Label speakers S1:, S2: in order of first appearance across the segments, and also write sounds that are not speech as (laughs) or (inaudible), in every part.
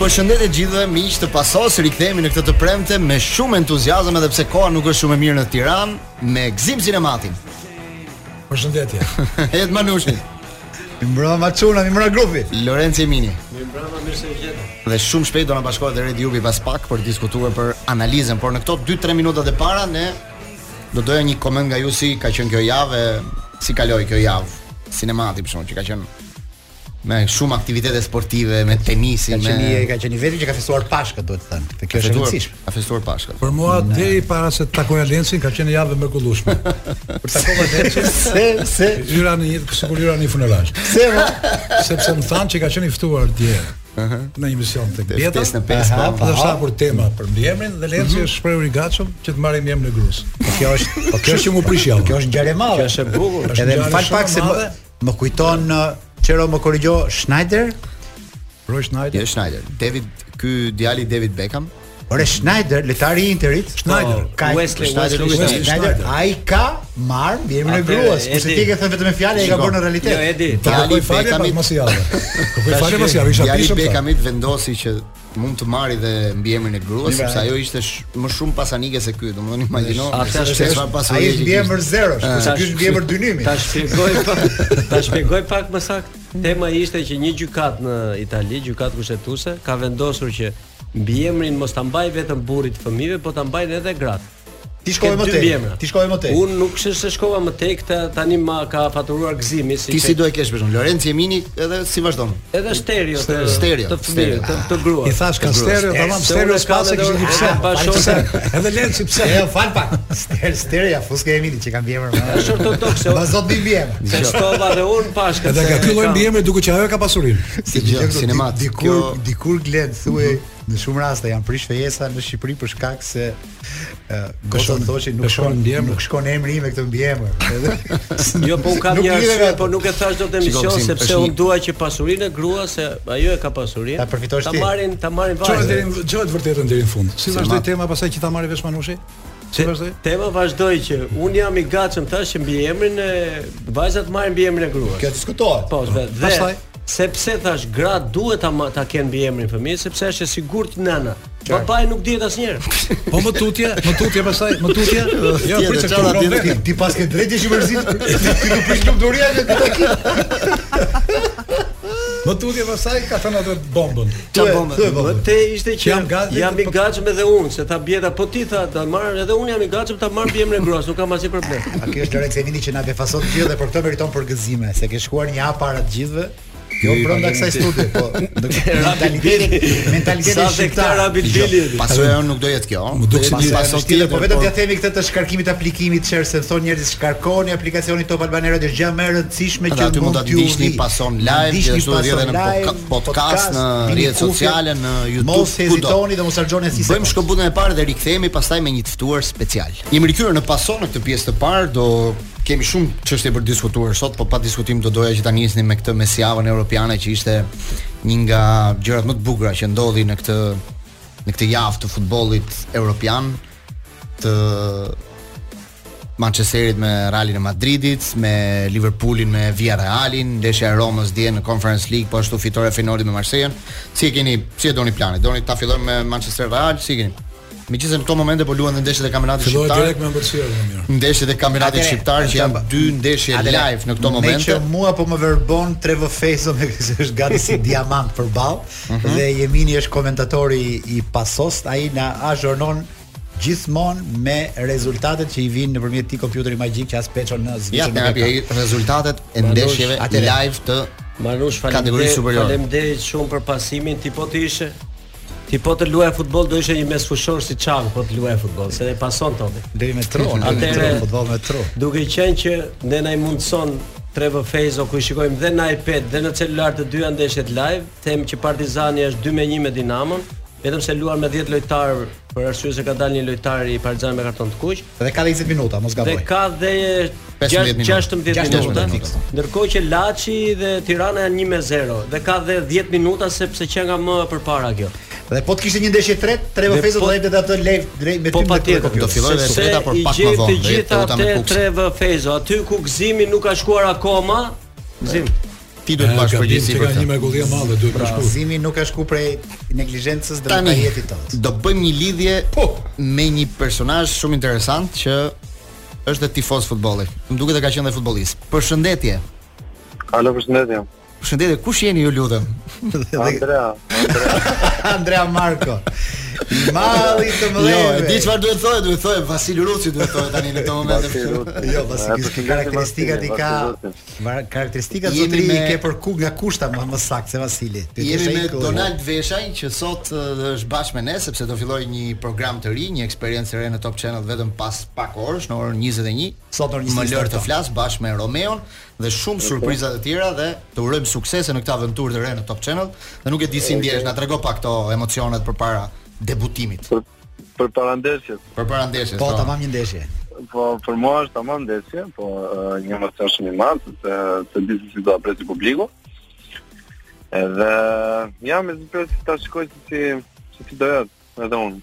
S1: Përshëndetje gjithëve miq të pasos, rikthehemi në këtë të premte me shumë entuziazëm edhe pse koha nuk është shumë e mirë në Tiranë me Gzim
S2: (laughs)
S1: Sinematin.
S3: Përshëndetje.
S1: Ed Manushin,
S2: Mi (laughs) mbrëma Macuna, mi mbrëma grupi.
S1: Lorenzo Emini
S4: Mi mbrëma mirë se vjeta.
S1: dhe shumë shpejt do na bashkohet edhe Redi Jubi pas pak për të diskutuar për analizën, por në këto 2-3 minutat e para ne do doja një koment nga ju si ka qenë kjo javë, e si kaloi kjo javë Sinemati për shkak që ka qenë me shumë aktivitete sportive, me
S2: Ka
S1: tenisin,
S2: qenë
S1: me
S2: i- ka qenë i vetëm që ka festuar Pashkët, duhet të thënë. Dhe kjo është e
S1: Festuar-
S2: rëndësishme.
S1: Ka festuar Pashkën.
S3: Për mua deri para se të takoj Alencin ka qenë javë e
S2: (laughs)
S3: mrekullueshme. Kur takova Alencin,
S2: Se se
S3: hyra në një sikur hyra në një funeral,
S2: se po. mo.
S3: sepse më thanë që ka qenë i ftuar dje. Në një mision tek Beta.
S1: ftesën e pestë,
S3: Aha,
S1: po.
S3: Dhe është hapur tema për mbiemrin dhe Lenci është shprehur i gatshëm që të marrë mbiemrin në grus.
S2: Kjo është, Mhm. po
S3: Kjo është që mu prish javën.
S2: Kjo është ngjarje e madhe.
S4: Kjo është e bukur.
S3: Është
S2: Edhe më
S3: ngjarje
S2: fal
S3: shumë
S2: pak
S3: e
S2: se më,
S3: madhe.
S2: më kujton ë, Qero më korrigjo Schneider.
S3: Roy Schneider.
S1: Jo Schneider, David, ky djali David Beckham,
S2: Ore Schneider, lojtari i Interit. Po,
S3: Schneider.
S2: Ka
S4: Wesley,
S2: Schneider,
S4: Wesley
S2: Schneider.
S3: Schneider.
S2: Ai ka marr vjerin e
S4: Atëre,
S2: gruas, kurse
S4: Edi.
S2: ti ke thënë vetëm me fjalë, ai ka
S1: Shiko.
S2: bërë në realitet.
S4: Jo, Edi.
S3: Ta
S1: Djali
S3: takoj falje
S1: Beckhamit-
S3: pas mos
S2: (laughs)
S3: javë. Takoj falje pas javë, isha
S1: Djali
S3: pishëm. pra. tha.
S1: Beckhamit vendosi që mund të marrë dhe mbiemrin e gruas sepse ajo ishte sh më shumë pasanike se ky, domethënë imagjino
S4: Atë
S1: se
S4: është-
S1: çfarë
S2: Ai
S1: pasurie
S2: është
S1: që
S2: mbiemër
S1: kishte.
S2: zero, kurse ky është mbiemër dynimi.
S4: Ta shpjegoj pak, ta shpjegoj pak më saktë. Tema ishte që një gjykat në Itali, gjykat kushtetuese, ka vendosur që mbiemrin mos ta mbaj vetëm burrit fëmijëve, po ta mbajnë edhe gratë.
S2: Ti shkove
S4: Ke
S2: më
S4: dy
S2: tej.
S4: mbiemra.
S2: Ti shkove më tej.
S4: Unë nuk shë se shkova më tej, këtë tani ma ka faturuar gëzimi si
S1: Ti si
S4: që-
S1: do e kesh për shkak? Lorenzo Jemini edhe si vazhdon?
S4: edhe stereo të
S1: Stereo,
S4: të fëmijë,
S1: stereo.
S4: të, të grua.
S3: I thash ka stereo, tamam
S4: Se
S3: stereo
S4: unë e kam
S3: spase
S4: edhe
S3: kishte një
S4: orë-
S3: pse.
S4: edhe bashkëse.
S3: Edhe Lenci pse.
S2: E, Jo, fal pak. Ster, ster, ja fuske e mini që kanë vjemër.
S4: Është ortodokse. o-
S2: Bazot di vjemë.
S4: Se shtova dhe unë pashkën.
S3: Edhe
S4: se
S3: ka ky lloj
S4: kam.
S3: mbiemri duke që ajo ka pasurinë.
S1: Si gjë sinemat.
S2: Dikur
S1: Kjo
S2: dikur Glen thuaj në shumë raste janë prish fejesa në Shqipëri për shkak se uh,
S3: Këshon-
S2: gjoshën thoshin nuk
S3: këshon
S2: shkon
S3: mbiemër.
S2: nuk shkon emri im me këtë mbiemër. Edhe
S4: Jo, po unë kam
S2: Nuk
S4: një
S2: lidhe
S4: arsye,
S2: me-
S4: po nuk e thash dot në
S1: Shiko,
S4: emision
S1: Gzim,
S4: sepse
S1: është një-
S4: unë dua që pasurinë e gruas se ajo e ka pasurinë.
S2: Ta përfitosh
S4: ta
S2: ti.
S4: marrin, ta marrin
S3: Çfarë
S4: vajzën.
S3: deri çfarë të vërtetën deri në fund. Si vazhdoi
S1: ma-
S3: tema pasaj që ta marrë vesh Manushi? Si vazhdoi?
S4: Tema vazhdoi që unë jam i gatshëm thash që mbi emrin e vajzat marrin mbi emrin e gruas.
S2: kjo diskutohet.
S4: Po, dhe, dhe
S3: Pastaj?
S4: sepse thash gra duhet ta ma- ta kenë mbi emrin fëmijë sepse është e sigurt nëna. Babai nuk dihet asnjëherë.
S2: (laughs)
S3: Po më tutje, më tutje pastaj, më tutje. (laughs) Jo,
S1: Tjetër,
S3: pritë
S1: çfarë
S3: këtu
S1: atje
S3: në
S2: Ti,
S3: vetë.
S2: ti pas ke drejtë që mërzit, ti nuk prish lumturia që ti takim.
S3: Më tutje pastaj ka thënë atë bombën.
S2: Thuaj,
S1: Çfarë bën?
S2: thuaj, po.
S4: Te ishte që
S3: Jam
S4: jam,
S3: gati-
S4: i gatshëm edhe unë, se ta bjeta, po ti tha, ta marr edhe unë jam i gatshëm ta marr mbi emrin e gruas, nuk kam asnjë
S2: (laughs)
S4: problem.
S2: A kjo është Lorenz Evini që na befason të gjithë dhe për këtë meriton përgëzime, se ke shkuar një hap para të gjithëve. Kjo brenda kësaj studie, po. Mentaliteti, mentaliteti
S4: Sa dhe këta
S2: shqiptar. Jo.
S4: rabitbili.
S1: Pasuja jonë nuk do jetë kjo.
S3: Më duk si
S1: Pas-
S3: një-
S1: paso
S2: Tjetër,
S1: tjetër,
S2: po vetëm
S1: por-
S2: t'ja themi këtë të shkarkimit të aplikimit çer se thon njerëzit shkarkoni aplikacionin Top Albana Radio është gjë më e rëndësishme
S1: Edhe
S2: që
S1: aty mund ta
S2: t'ju
S1: ndiqni
S2: vi.
S1: pason
S2: Mund
S1: live,
S2: ndiqni
S1: gjithashtu
S2: pason
S1: edhe në
S2: live,
S1: podca- podcast, në
S2: vini
S1: rrjetet
S2: kufje,
S1: sociale, në YouTube,
S2: Mos
S1: kudo.
S2: hezitoni dhe mos harxhoni si
S1: Bëjmë shkëmbutjen e parë dhe rikthehemi pastaj me një të ftuar special. Jemi rikthyer në pason në këtë pjesë të parë, do kemi shumë çështje për të diskutuar sot, po pa diskutim do doja që ta nisnim me këtë mesjavën europiane që ishte një nga gjërat më të bukura që ndodhi në këtë në këtë javë të futbollit europian të Manchesterit me Realin e Madridit, me Liverpoolin me Villarrealin, ndeshja e Romës dje në Conference League, po ashtu fitore e Feyenoordit me Marseille. Si e keni, si e doni planin? Doni ta fillojmë me Manchester Real, si e keni? Megjithëse në këto momente po luhen dhe ndeshjet e kampionatit
S3: Filloi
S1: shqiptar
S3: direkt me ëmbëlsirë më mirë.
S1: ndeshjet e kampionatit
S2: Atëre,
S1: shqiptar që janë
S2: Çamba.
S1: dy ndeshje live në këto
S2: Me
S1: momente.
S2: që mua po më verbon Trevo Feso (laughs) me se është gati si diamant përballë
S1: Mhm.
S2: dhe Jemini është komentatori i pasost, ai na azhurnon gjithmonë me rezultatet që i vinë nëpërmjet ti kompjuteri magjik që as peço në
S1: Ja,
S2: zgjidhje.
S1: ne hapi ai rezultatet e
S4: Manush,
S1: ndeshjeve
S2: atëre.
S1: live të
S4: Manush,
S1: kategorisë
S4: faleminderit
S1: superiore.
S4: faleminderit shumë për pasimin, ti po të ishe Ti po të luaj futboll do ishe një mesfushor si Çavi po të luaj futboll, se ne pason topi.
S2: deri me
S1: (laughs)
S2: tron, deri me
S4: Atëre-
S2: tron, futboll me tron.
S4: Duke qenë që ne na i mundson Trevor Fezo ku i shikojmë dhe në iPad dhe në celular të dyja ndeshjet live, them që Partizani është 2 me 1 me Dinamon, vetëm se luan me 10 lojtarë për arsye se ka dalë një lojtar i Partizanit me karton të kuq.
S2: Dhe ka 20 minuta, mos gaboj.
S4: Dhe ka dhe
S1: 15
S4: 6-
S1: minuta.
S4: 16
S2: 16
S4: minuta.
S2: minuta.
S4: Ndërkohë që Laçi dhe Tirana janë 1-0 dhe ka dhe 10 minuta sepse që nga më përpara kjo.
S2: Dhe po të kishte një ndeshje tret, Trevo
S4: Dhe
S2: Feso
S4: po-
S2: do jepte atë live drejt me
S4: Po
S2: ty me
S4: patjetër,
S2: kompjuter.
S1: do filloj dhe
S4: sepse
S1: treta, por
S4: i
S1: pak më
S4: gjej
S1: vonë,
S4: Të
S1: dhe
S4: gjitha
S1: treta me
S4: te
S1: Kuks.
S4: Trevor Fezo, aty ku Gzimi nuk ka shkuar akoma, Gzim.
S1: ti duhet të bash përgjegjësi për
S3: Ka një
S1: këtë.
S3: mrekulli e madhe, duhet të shkruaj.
S2: Gëzimi Ah, nuk ka shku prej neglizhencës dhe
S1: Tani
S2: nga jeti tot.
S1: do bëjmë një lidhje
S3: Po.
S1: me një personazh shumë interesant që është dhe tifoz futbolli. Më duket se ka qenë dhe futbollist. Përshëndetje.
S5: Alo, përshëndetje.
S1: Përshëndetje, kush jeni ju lutem?
S5: Andrea,
S2: (laughs) (laughs) Andrea Marko. I malli të mëdhenj.
S1: Jo, e di çfarë duhet thonë, duhet thonë Vasili Ruci duhet thonë tani në këtë
S5: Vasi
S1: moment.
S5: Ruti.
S2: Jo, pasi
S5: E,
S2: kis-
S5: përshëndetje,
S2: karakteristikat
S5: Vasili,
S2: i ka
S5: Vasili Ruti.
S2: var- karakteristikat
S1: Jemi
S2: zotëri i
S1: me-
S2: ke për ku nga kushta më më saktë se Vasili. Ty
S1: Jemi
S2: t'ishe i
S1: me
S2: këtu.
S1: Donald Veshaj që sot ë, është bashkë me ne sepse do filloj një program të ri, një eksperiencë të re në Top Channel vetëm pas pak orësh në orën 21.
S2: Sot në orën
S1: Më
S2: 21
S1: lër të
S2: starto.
S1: flas bashkë me Romeon dhe shumë surpriza të tjera dhe të urojmë suksese në këtë aventurë të re në Top Channel. Dhe nuk e di si ndjehesh, na trego pak këto emocionet përpara debutimit.
S5: për, për para ndeshjes.
S1: Përpara ndeshjes.
S2: Po,
S1: po.
S2: tamam një ndeshje.
S5: Po për mua është tamam ndeshje, po e, një emocion shumë i madh se se di se si do ta presi publiku. Edhe jam me zgjedhje ta shikoj se si se si do jetë edhe unë.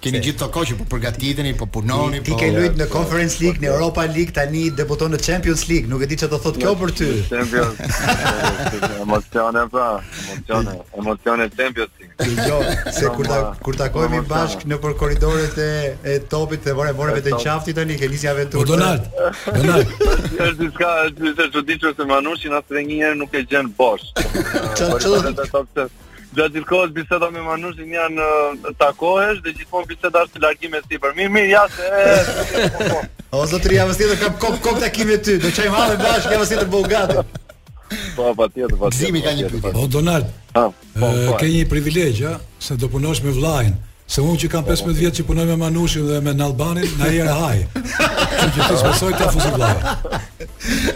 S1: Keni gjithë këto kohë që po përgatiteni, po punoni,
S2: Ti
S1: po.
S2: ke luajt në
S5: po,
S2: Conference League, në Europa League, tani debuton në Champions League. Nuk e di çfarë do thotë kjo për ty. (laughs)
S5: Champions. e, Emocione pra, emocione, emocione Champions League.
S2: Jo, se kur ta kur takohemi
S5: Normal,
S2: bashkë në për korridoret e e topit të vore vore
S5: E
S2: vetë
S5: top.
S2: qafti tani ke nisi
S3: Po
S2: aventurë.
S3: Donald, Donald,
S5: Është diçka është diçka e çuditshme se Manushin as edhe një herë nuk e gjen bosh.
S2: (laughs) Qa- qa do të-
S5: thotë? Gjatë gjithë kohës biseda me Manushin janë ë, takohesh dhe gjithmonë biseda është largime sipër. Mirë, mirë, ja se e, po, po.
S2: O zotëri javës tjetër kam kok kok takim me ty. Do çajm hallë bashkë javës tjetër bëu gati.
S5: Po, patjetër, patjetër.
S1: Gëzimi ka një
S5: patjetër,
S1: pyetje.
S3: po Donald.
S5: Ha, po,
S3: ë,
S5: po.
S3: Ke një privilegj, ha, se do punosh me vllain. Se unë që kam 15 vjet që punoj me Manushin dhe me Nalbanin, na jera haj. Që që ti s'besoj ta fusi vllava.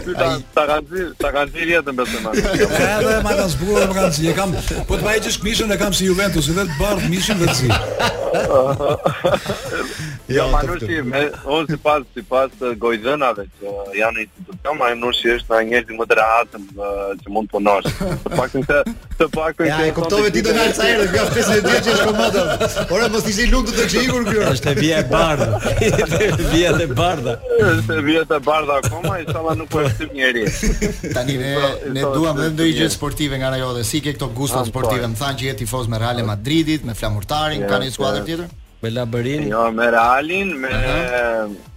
S5: Ty ta- Ta kanë zirë, ta kanë zirë jetën besoj
S2: (laughs)
S5: Manushin.
S3: Edhe ma kanë zbukur dhe ma kanë zi. E kam, po të vajgjësh mishën e kam si Juventus, dhe të bardh mishin dhe të zi.
S5: Jo, Manushi, me, unë si pas, si pas gojdhënave që janë në institucion, Manushi është në njerëzit më të rehatëm ë, që mund të punosh. Të paktën se, të paktën
S2: Ja, e kuptove ti Donald sa herë nga 50 vjet që është komodë. Ora mos ishe i lumtur të çikur ky.
S4: Është e vija e (laughs) bardhë. Vija e bardhë.
S5: Se vjet e bardha akoma, i sama nuk po e shtyp
S1: (laughs)
S5: njeri.
S1: Tani ne
S2: Pra,
S5: Po,
S1: ne
S5: po,
S1: duam
S5: po,
S1: edhe ndonjë
S5: po,
S1: gjë
S5: po.
S1: sportive nga ana jote. Si ke këto gusto
S5: Ah, po.
S1: sportive? Më thanë që je tifoz me Real Madridit, me Flamurtarin,
S5: Ja,
S1: ka një
S5: po.
S1: skuadër tjetër?
S4: Me labërin.
S5: Jo, me Realin, me...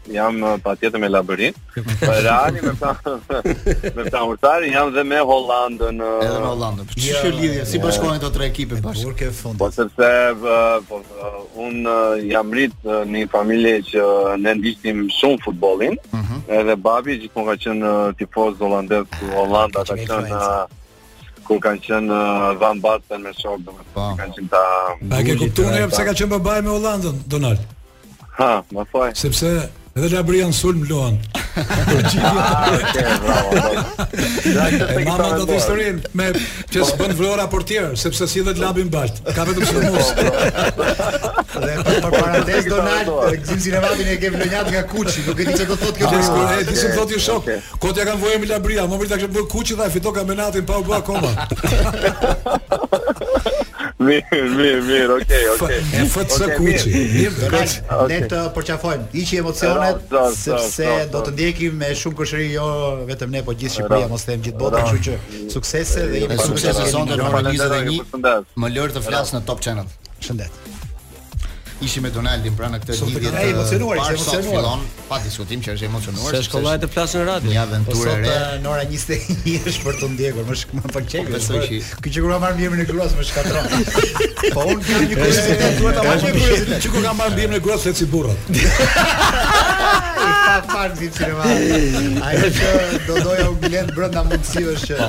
S5: Jam ë, patjetër me Labirin.
S1: (laughs)
S5: Me Realin, me Flam- (laughs) me Flamurtarin, jam dhe me Hollandën. uh, ë,
S1: Edhe me Hollandën. Po ç'është kjo lidhje? Si bashkohen këto tre ekipe bashkë?
S2: Por ke fund.
S5: Po sepse ë, po ë, un ë, jam rrit ë, në një familje që uh, ne ndiqnim shumë futbollin.
S1: Mhm.
S5: Edhe babi gjithmonë ka qenë ë, tifoz holandez ku Holanda
S2: ka
S5: ka
S2: qenë
S5: qenë
S2: influencer.
S5: ë, ku kanë qenë ë, Van Basten me shok,
S1: Po.
S5: domethënë kanë qenë ta
S3: A ke kuptuar ne pse ka qenë babai me Hollandën, Donald?
S5: Ha, më thoj.
S3: Sepse edhe Labrian sulm luan. Përgjigje.
S5: Ah, okay, bravo. bravo. Ja, këtë
S3: E
S5: se
S3: mama
S5: kisha
S3: do të
S5: menduar.
S3: historinë me që s'bën vrora portier, sepse si dhe të labin balt. Ka vetëm sulmues.
S2: Dhe për për parades Donald, gzim sinematin e ke vlonjat nga Kuçi, nuk e di çfarë do thotë
S5: Ah.
S2: kjo.
S3: Që
S2: për-
S3: kur e di se më thotë ju shok,
S5: okay.
S3: kot ja kanë vojë me Labria, më bëri ta kishë bërë kuçi dhe fitoi kampionatin pa u bë akoma.
S5: Mirë, mirë, mirë, okay, okay.
S3: E FC
S5: Okej,
S3: kuçi.
S5: mirë.
S3: Mirë,
S2: Donald,
S3: kuçi.
S5: Okej.
S2: ne të përqafojmë. Iqi emocionet
S5: Ro, ro, ro,
S2: sepse
S5: ro, ro.
S2: do të ndjekim me shumë këshëri jo vetëm ne, po gjithë Shqipëria,
S5: Ro.
S2: mos them gjithë botën,
S5: Ro.
S2: kështu që suksese dhe jemi
S1: E
S2: sigurt se
S1: suksese
S2: keni
S1: sonte në
S2: ndihmë.
S1: orën
S5: Falenderoj,
S1: 21.
S5: përshëndes.
S1: Më lër të flas në Top Channel.
S2: Shëndet. Po
S1: Ishim me Donaldin pra në këtë
S3: Sot e
S1: lidhje. të
S2: ka- e emocionuar, ishte
S1: parë, sot
S2: emocionuar.
S1: Fillon pa diskutim që është emocionuar.
S4: Se
S1: sepse
S4: shkollajt e flasë në
S1: është Një
S4: radio.
S2: Po
S1: aventurë e
S2: sot
S1: re.
S2: e, në ora 21 është për të ndjekur, më shkë më pak çevi.
S1: besoj që-
S2: Ky që kur marr mirën e gruas më shkatron. Po unë kam një kuriozitet, duhet ta marr një kuriozitet.
S3: Çiko ka marrë ndihmën e gruas se si burrat.
S2: Ai pa fal si cinema. Ai që do doja u glen brenda mundësive që
S1: Po.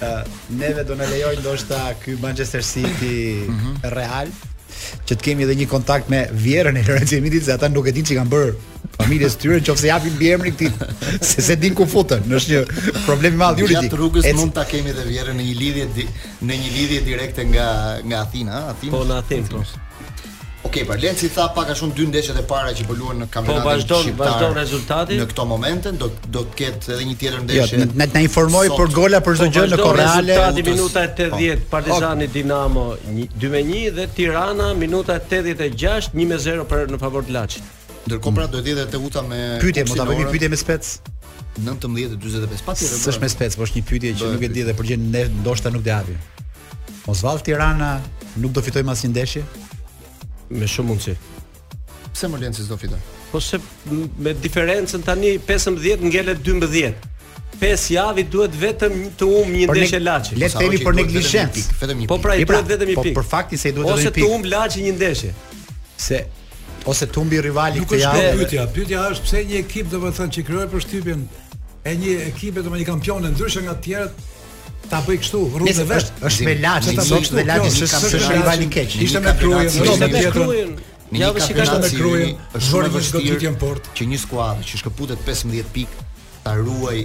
S2: eh, neve do na lejojnë ndoshta ky Manchester City
S1: Mhm.
S2: Real që të kemi edhe një kontakt me Vjerën e Lorenzo Emitit se ata nuk e dinë ç'i kanë bërë familjes tyre nëse japin mbiemrin këtij se se din ku futen. Është një problem i madh juridik.
S1: Gjatë rrugës
S2: Eci-
S1: mund ta kemi edhe vjerën në një lidhje di- në një lidhje direkte nga nga Athina, ha? Athina.
S4: Po në Athin, po.
S1: Okej, pra le të si tha pak a shumë dy ndeshjet e para që po luhen në kampionatin
S4: Po, vazhdon-
S1: shqiptar.
S4: vazhdon rezultati.
S1: Në këto momente do do të ketë edhe një tjetër
S2: Jo,
S1: ndeshje.
S2: na na informoj
S1: sot. Po,
S2: për gola për çdo gjë në Po.
S4: vazhdo
S2: Korale.
S4: Rezultati
S1: Utës.
S4: minuta e 80 Partizani Dinamo një- 2 me 1 dhe Tirana minuta e 86 1 me 0 për në favor të Laçit.
S1: Ndërkohë pra do të jetë te Uta me
S2: Pyetje,
S1: Kuksi
S2: mund ta bëjmë
S1: Lorën.
S2: pyetje me spec.
S1: 19:45 patjetër.
S2: S'është me spec, po është një pyetje që
S1: Bëhet
S2: nuk e di dhe përgjigjen ne ndoshta nuk do japi. Osvald Tirana nuk do fitojmë asnjë ndeshje.
S4: me shumë mundësi.
S1: pse më lenë si s'do fitoj.
S4: Po se m- me diferencën tani 15 ngelet 12. 5 javi duhet vetëm një- të um një
S2: Por ne-
S4: ndeshje laçi.
S2: le-
S1: Sa
S2: themi
S1: hoqi,
S2: për
S1: duhet vetëm një
S2: neglizhencë.
S1: pikë, Vetëm një
S4: Po pra i
S2: E pra,
S4: duhet vetëm një
S2: po
S4: pikë.
S2: për faktin se i duhet edhe
S4: ose
S2: një
S4: të
S2: pikë.
S4: um laçi një ndeshje.
S2: Se ose tumbi rivali
S3: Nuk
S2: këtë
S3: është kjo
S2: javë.
S3: pyetja. Pyetja është pse një ekip domethënë që krijoi për shtypjen e një ekipe domethënë një kampionë ndryshe nga të tjerët ta bëj kështu rrugën
S2: Nëse
S3: e vesh.
S2: është është me Laçi,
S1: Zim-
S2: sot me Laçi
S1: Zim-
S2: se
S1: Zim-
S2: s'është
S1: Zim-
S2: rivali
S1: Zim-
S2: keq.
S1: Zim-
S3: Ishte
S1: Zim-
S3: me
S1: Zim-
S3: Krujen,
S1: Zim-
S3: do
S1: Zim-
S3: me
S1: Zim-
S4: Me
S3: tjetrën.
S4: shkruajn.
S1: Në
S4: Javë
S1: një
S4: si ka
S1: kampionat
S3: me
S1: si
S3: Krujën,
S1: jemi, është shumë
S3: zhvërë
S1: e vështirë
S3: diskutitje në port.
S1: që një skuadër që shkëputet 15 pikë ta ruaj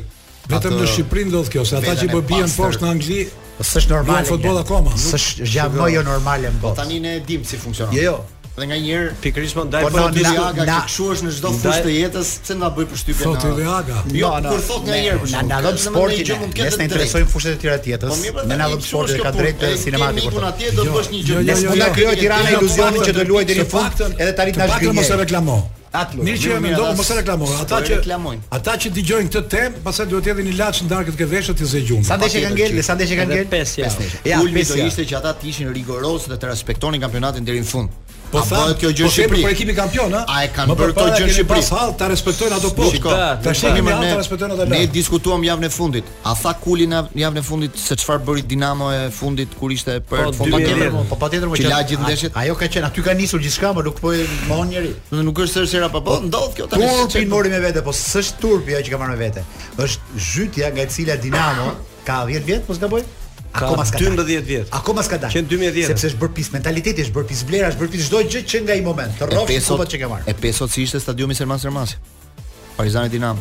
S3: Vetëm në Shqipëri ndodh kjo, se ata
S1: veten
S3: që
S1: e
S3: po bien
S1: pastër.
S3: poshtë në Angli,
S2: Po s'është normale.
S3: Luan futboll
S2: Glen.
S3: akoma.
S2: S'është gjë më jo normale në botë.
S1: Po tani ne e dim si funksionon.
S2: Jo, jo.
S1: Dhe nganjëherë
S4: Pikërisht më ndaj
S2: Po,
S4: po
S2: na-
S1: Ti
S2: na-
S1: aga që
S2: na-
S1: kshu është në çdo
S4: Ndaj-
S1: fushë të jetës, pse na bëj përshtypje
S3: Thotë Iliaga.
S1: Jo,
S2: No, no,
S1: kur thot nganjëherë për
S2: na
S1: shembull,
S2: na
S1: ka- domethënë
S2: dhëm
S1: një
S2: sportin.
S1: gjë mund të
S2: Ne
S1: ketë Po
S2: ne
S1: të
S2: interesojmë fushat e tjera të jetës. Ne na dhëm sportin ka drejtë sinematik.
S1: Mikun atje do të bësh po një gjë.
S3: Jo,
S2: Ne
S3: jo,
S2: mund
S3: jo,
S2: ta
S3: jo.
S2: krijojë Tirana
S3: Jo,
S2: iluzionin që do luajë deri në
S3: të
S2: fund,
S3: paktën-
S2: edhe tani
S3: të
S2: tash
S3: paktën mos e
S2: gënjej.
S3: reklamo.
S1: Atë luaj.
S3: Mirë që e
S1: Mirë, mirë,
S3: mendon,
S1: ata
S3: mos e reklamo.
S1: s'po
S3: Ata
S1: e
S3: që
S1: reklamojnë.
S3: ata që dëgjojnë këtë temë, pastaj duhet hedhin një laç në darkët këtë veshët i zëgjum.
S2: Sa ndeshje kanë
S1: Patjetër
S2: ngel,
S1: që-
S2: sa ndeshje kanë ngel?
S4: 5 javë.
S2: Ja,
S1: Ulmi do
S2: pesja.
S1: ishte që ata të ishin rigorozë dhe të respektonin kampionatin deri në fund.
S3: Po
S1: a
S3: tha,
S1: bëhet kjo gjë
S3: po
S1: në
S3: shepër
S1: Shqipëri?
S3: për ekipin kampion, a?
S1: A e kanë
S3: Më
S1: bërë këto
S3: përpara
S1: gjë në
S3: keni
S1: Shqipëri?
S3: Pas hall ta respektojnë ato
S1: Po,
S3: poshtë.
S1: shiko,
S3: tash
S1: shiko,
S3: kemi
S1: ne-
S3: hall ta respektojnë ato
S1: Ne
S3: lart.
S1: diskutuam javën e fundit. A tha Kuli në javën e fundit se çfarë bëri Dinamo e fundit kur ishte për
S4: Po,
S1: fund
S4: dy
S1: paketën?
S4: miliardë.
S2: Po patjetër më
S1: Që
S2: qenë-
S1: la gjithë ndeshjet?
S2: a- Ajo ka qenë, aty ka nisur gjithçka, më nuk po e mohon njëri.
S1: Do të nuk është sërë sera, po po ndodh kjo tani.
S2: Turpin mori me vete, po s'është turpi ajo që ka marrë me vete. Është zhytja nga e cila Dinamo ka 10 vjet, mos gaboj?
S4: Ka
S2: Akoma s'ka. dalë.
S4: 12 vjet.
S2: Akoma s'ka dalë.
S4: Qenë 2010.
S2: Sepse është bërë pis mentaliteti, është bërë pis vlera, është bërë pis çdo gjë që nga i moment. Të
S1: E
S2: rrofsh
S1: pesot
S2: kupat që ka marrë.
S1: E pesot si ishte stadiumi Selman Sermasi. Partizani Dinamo.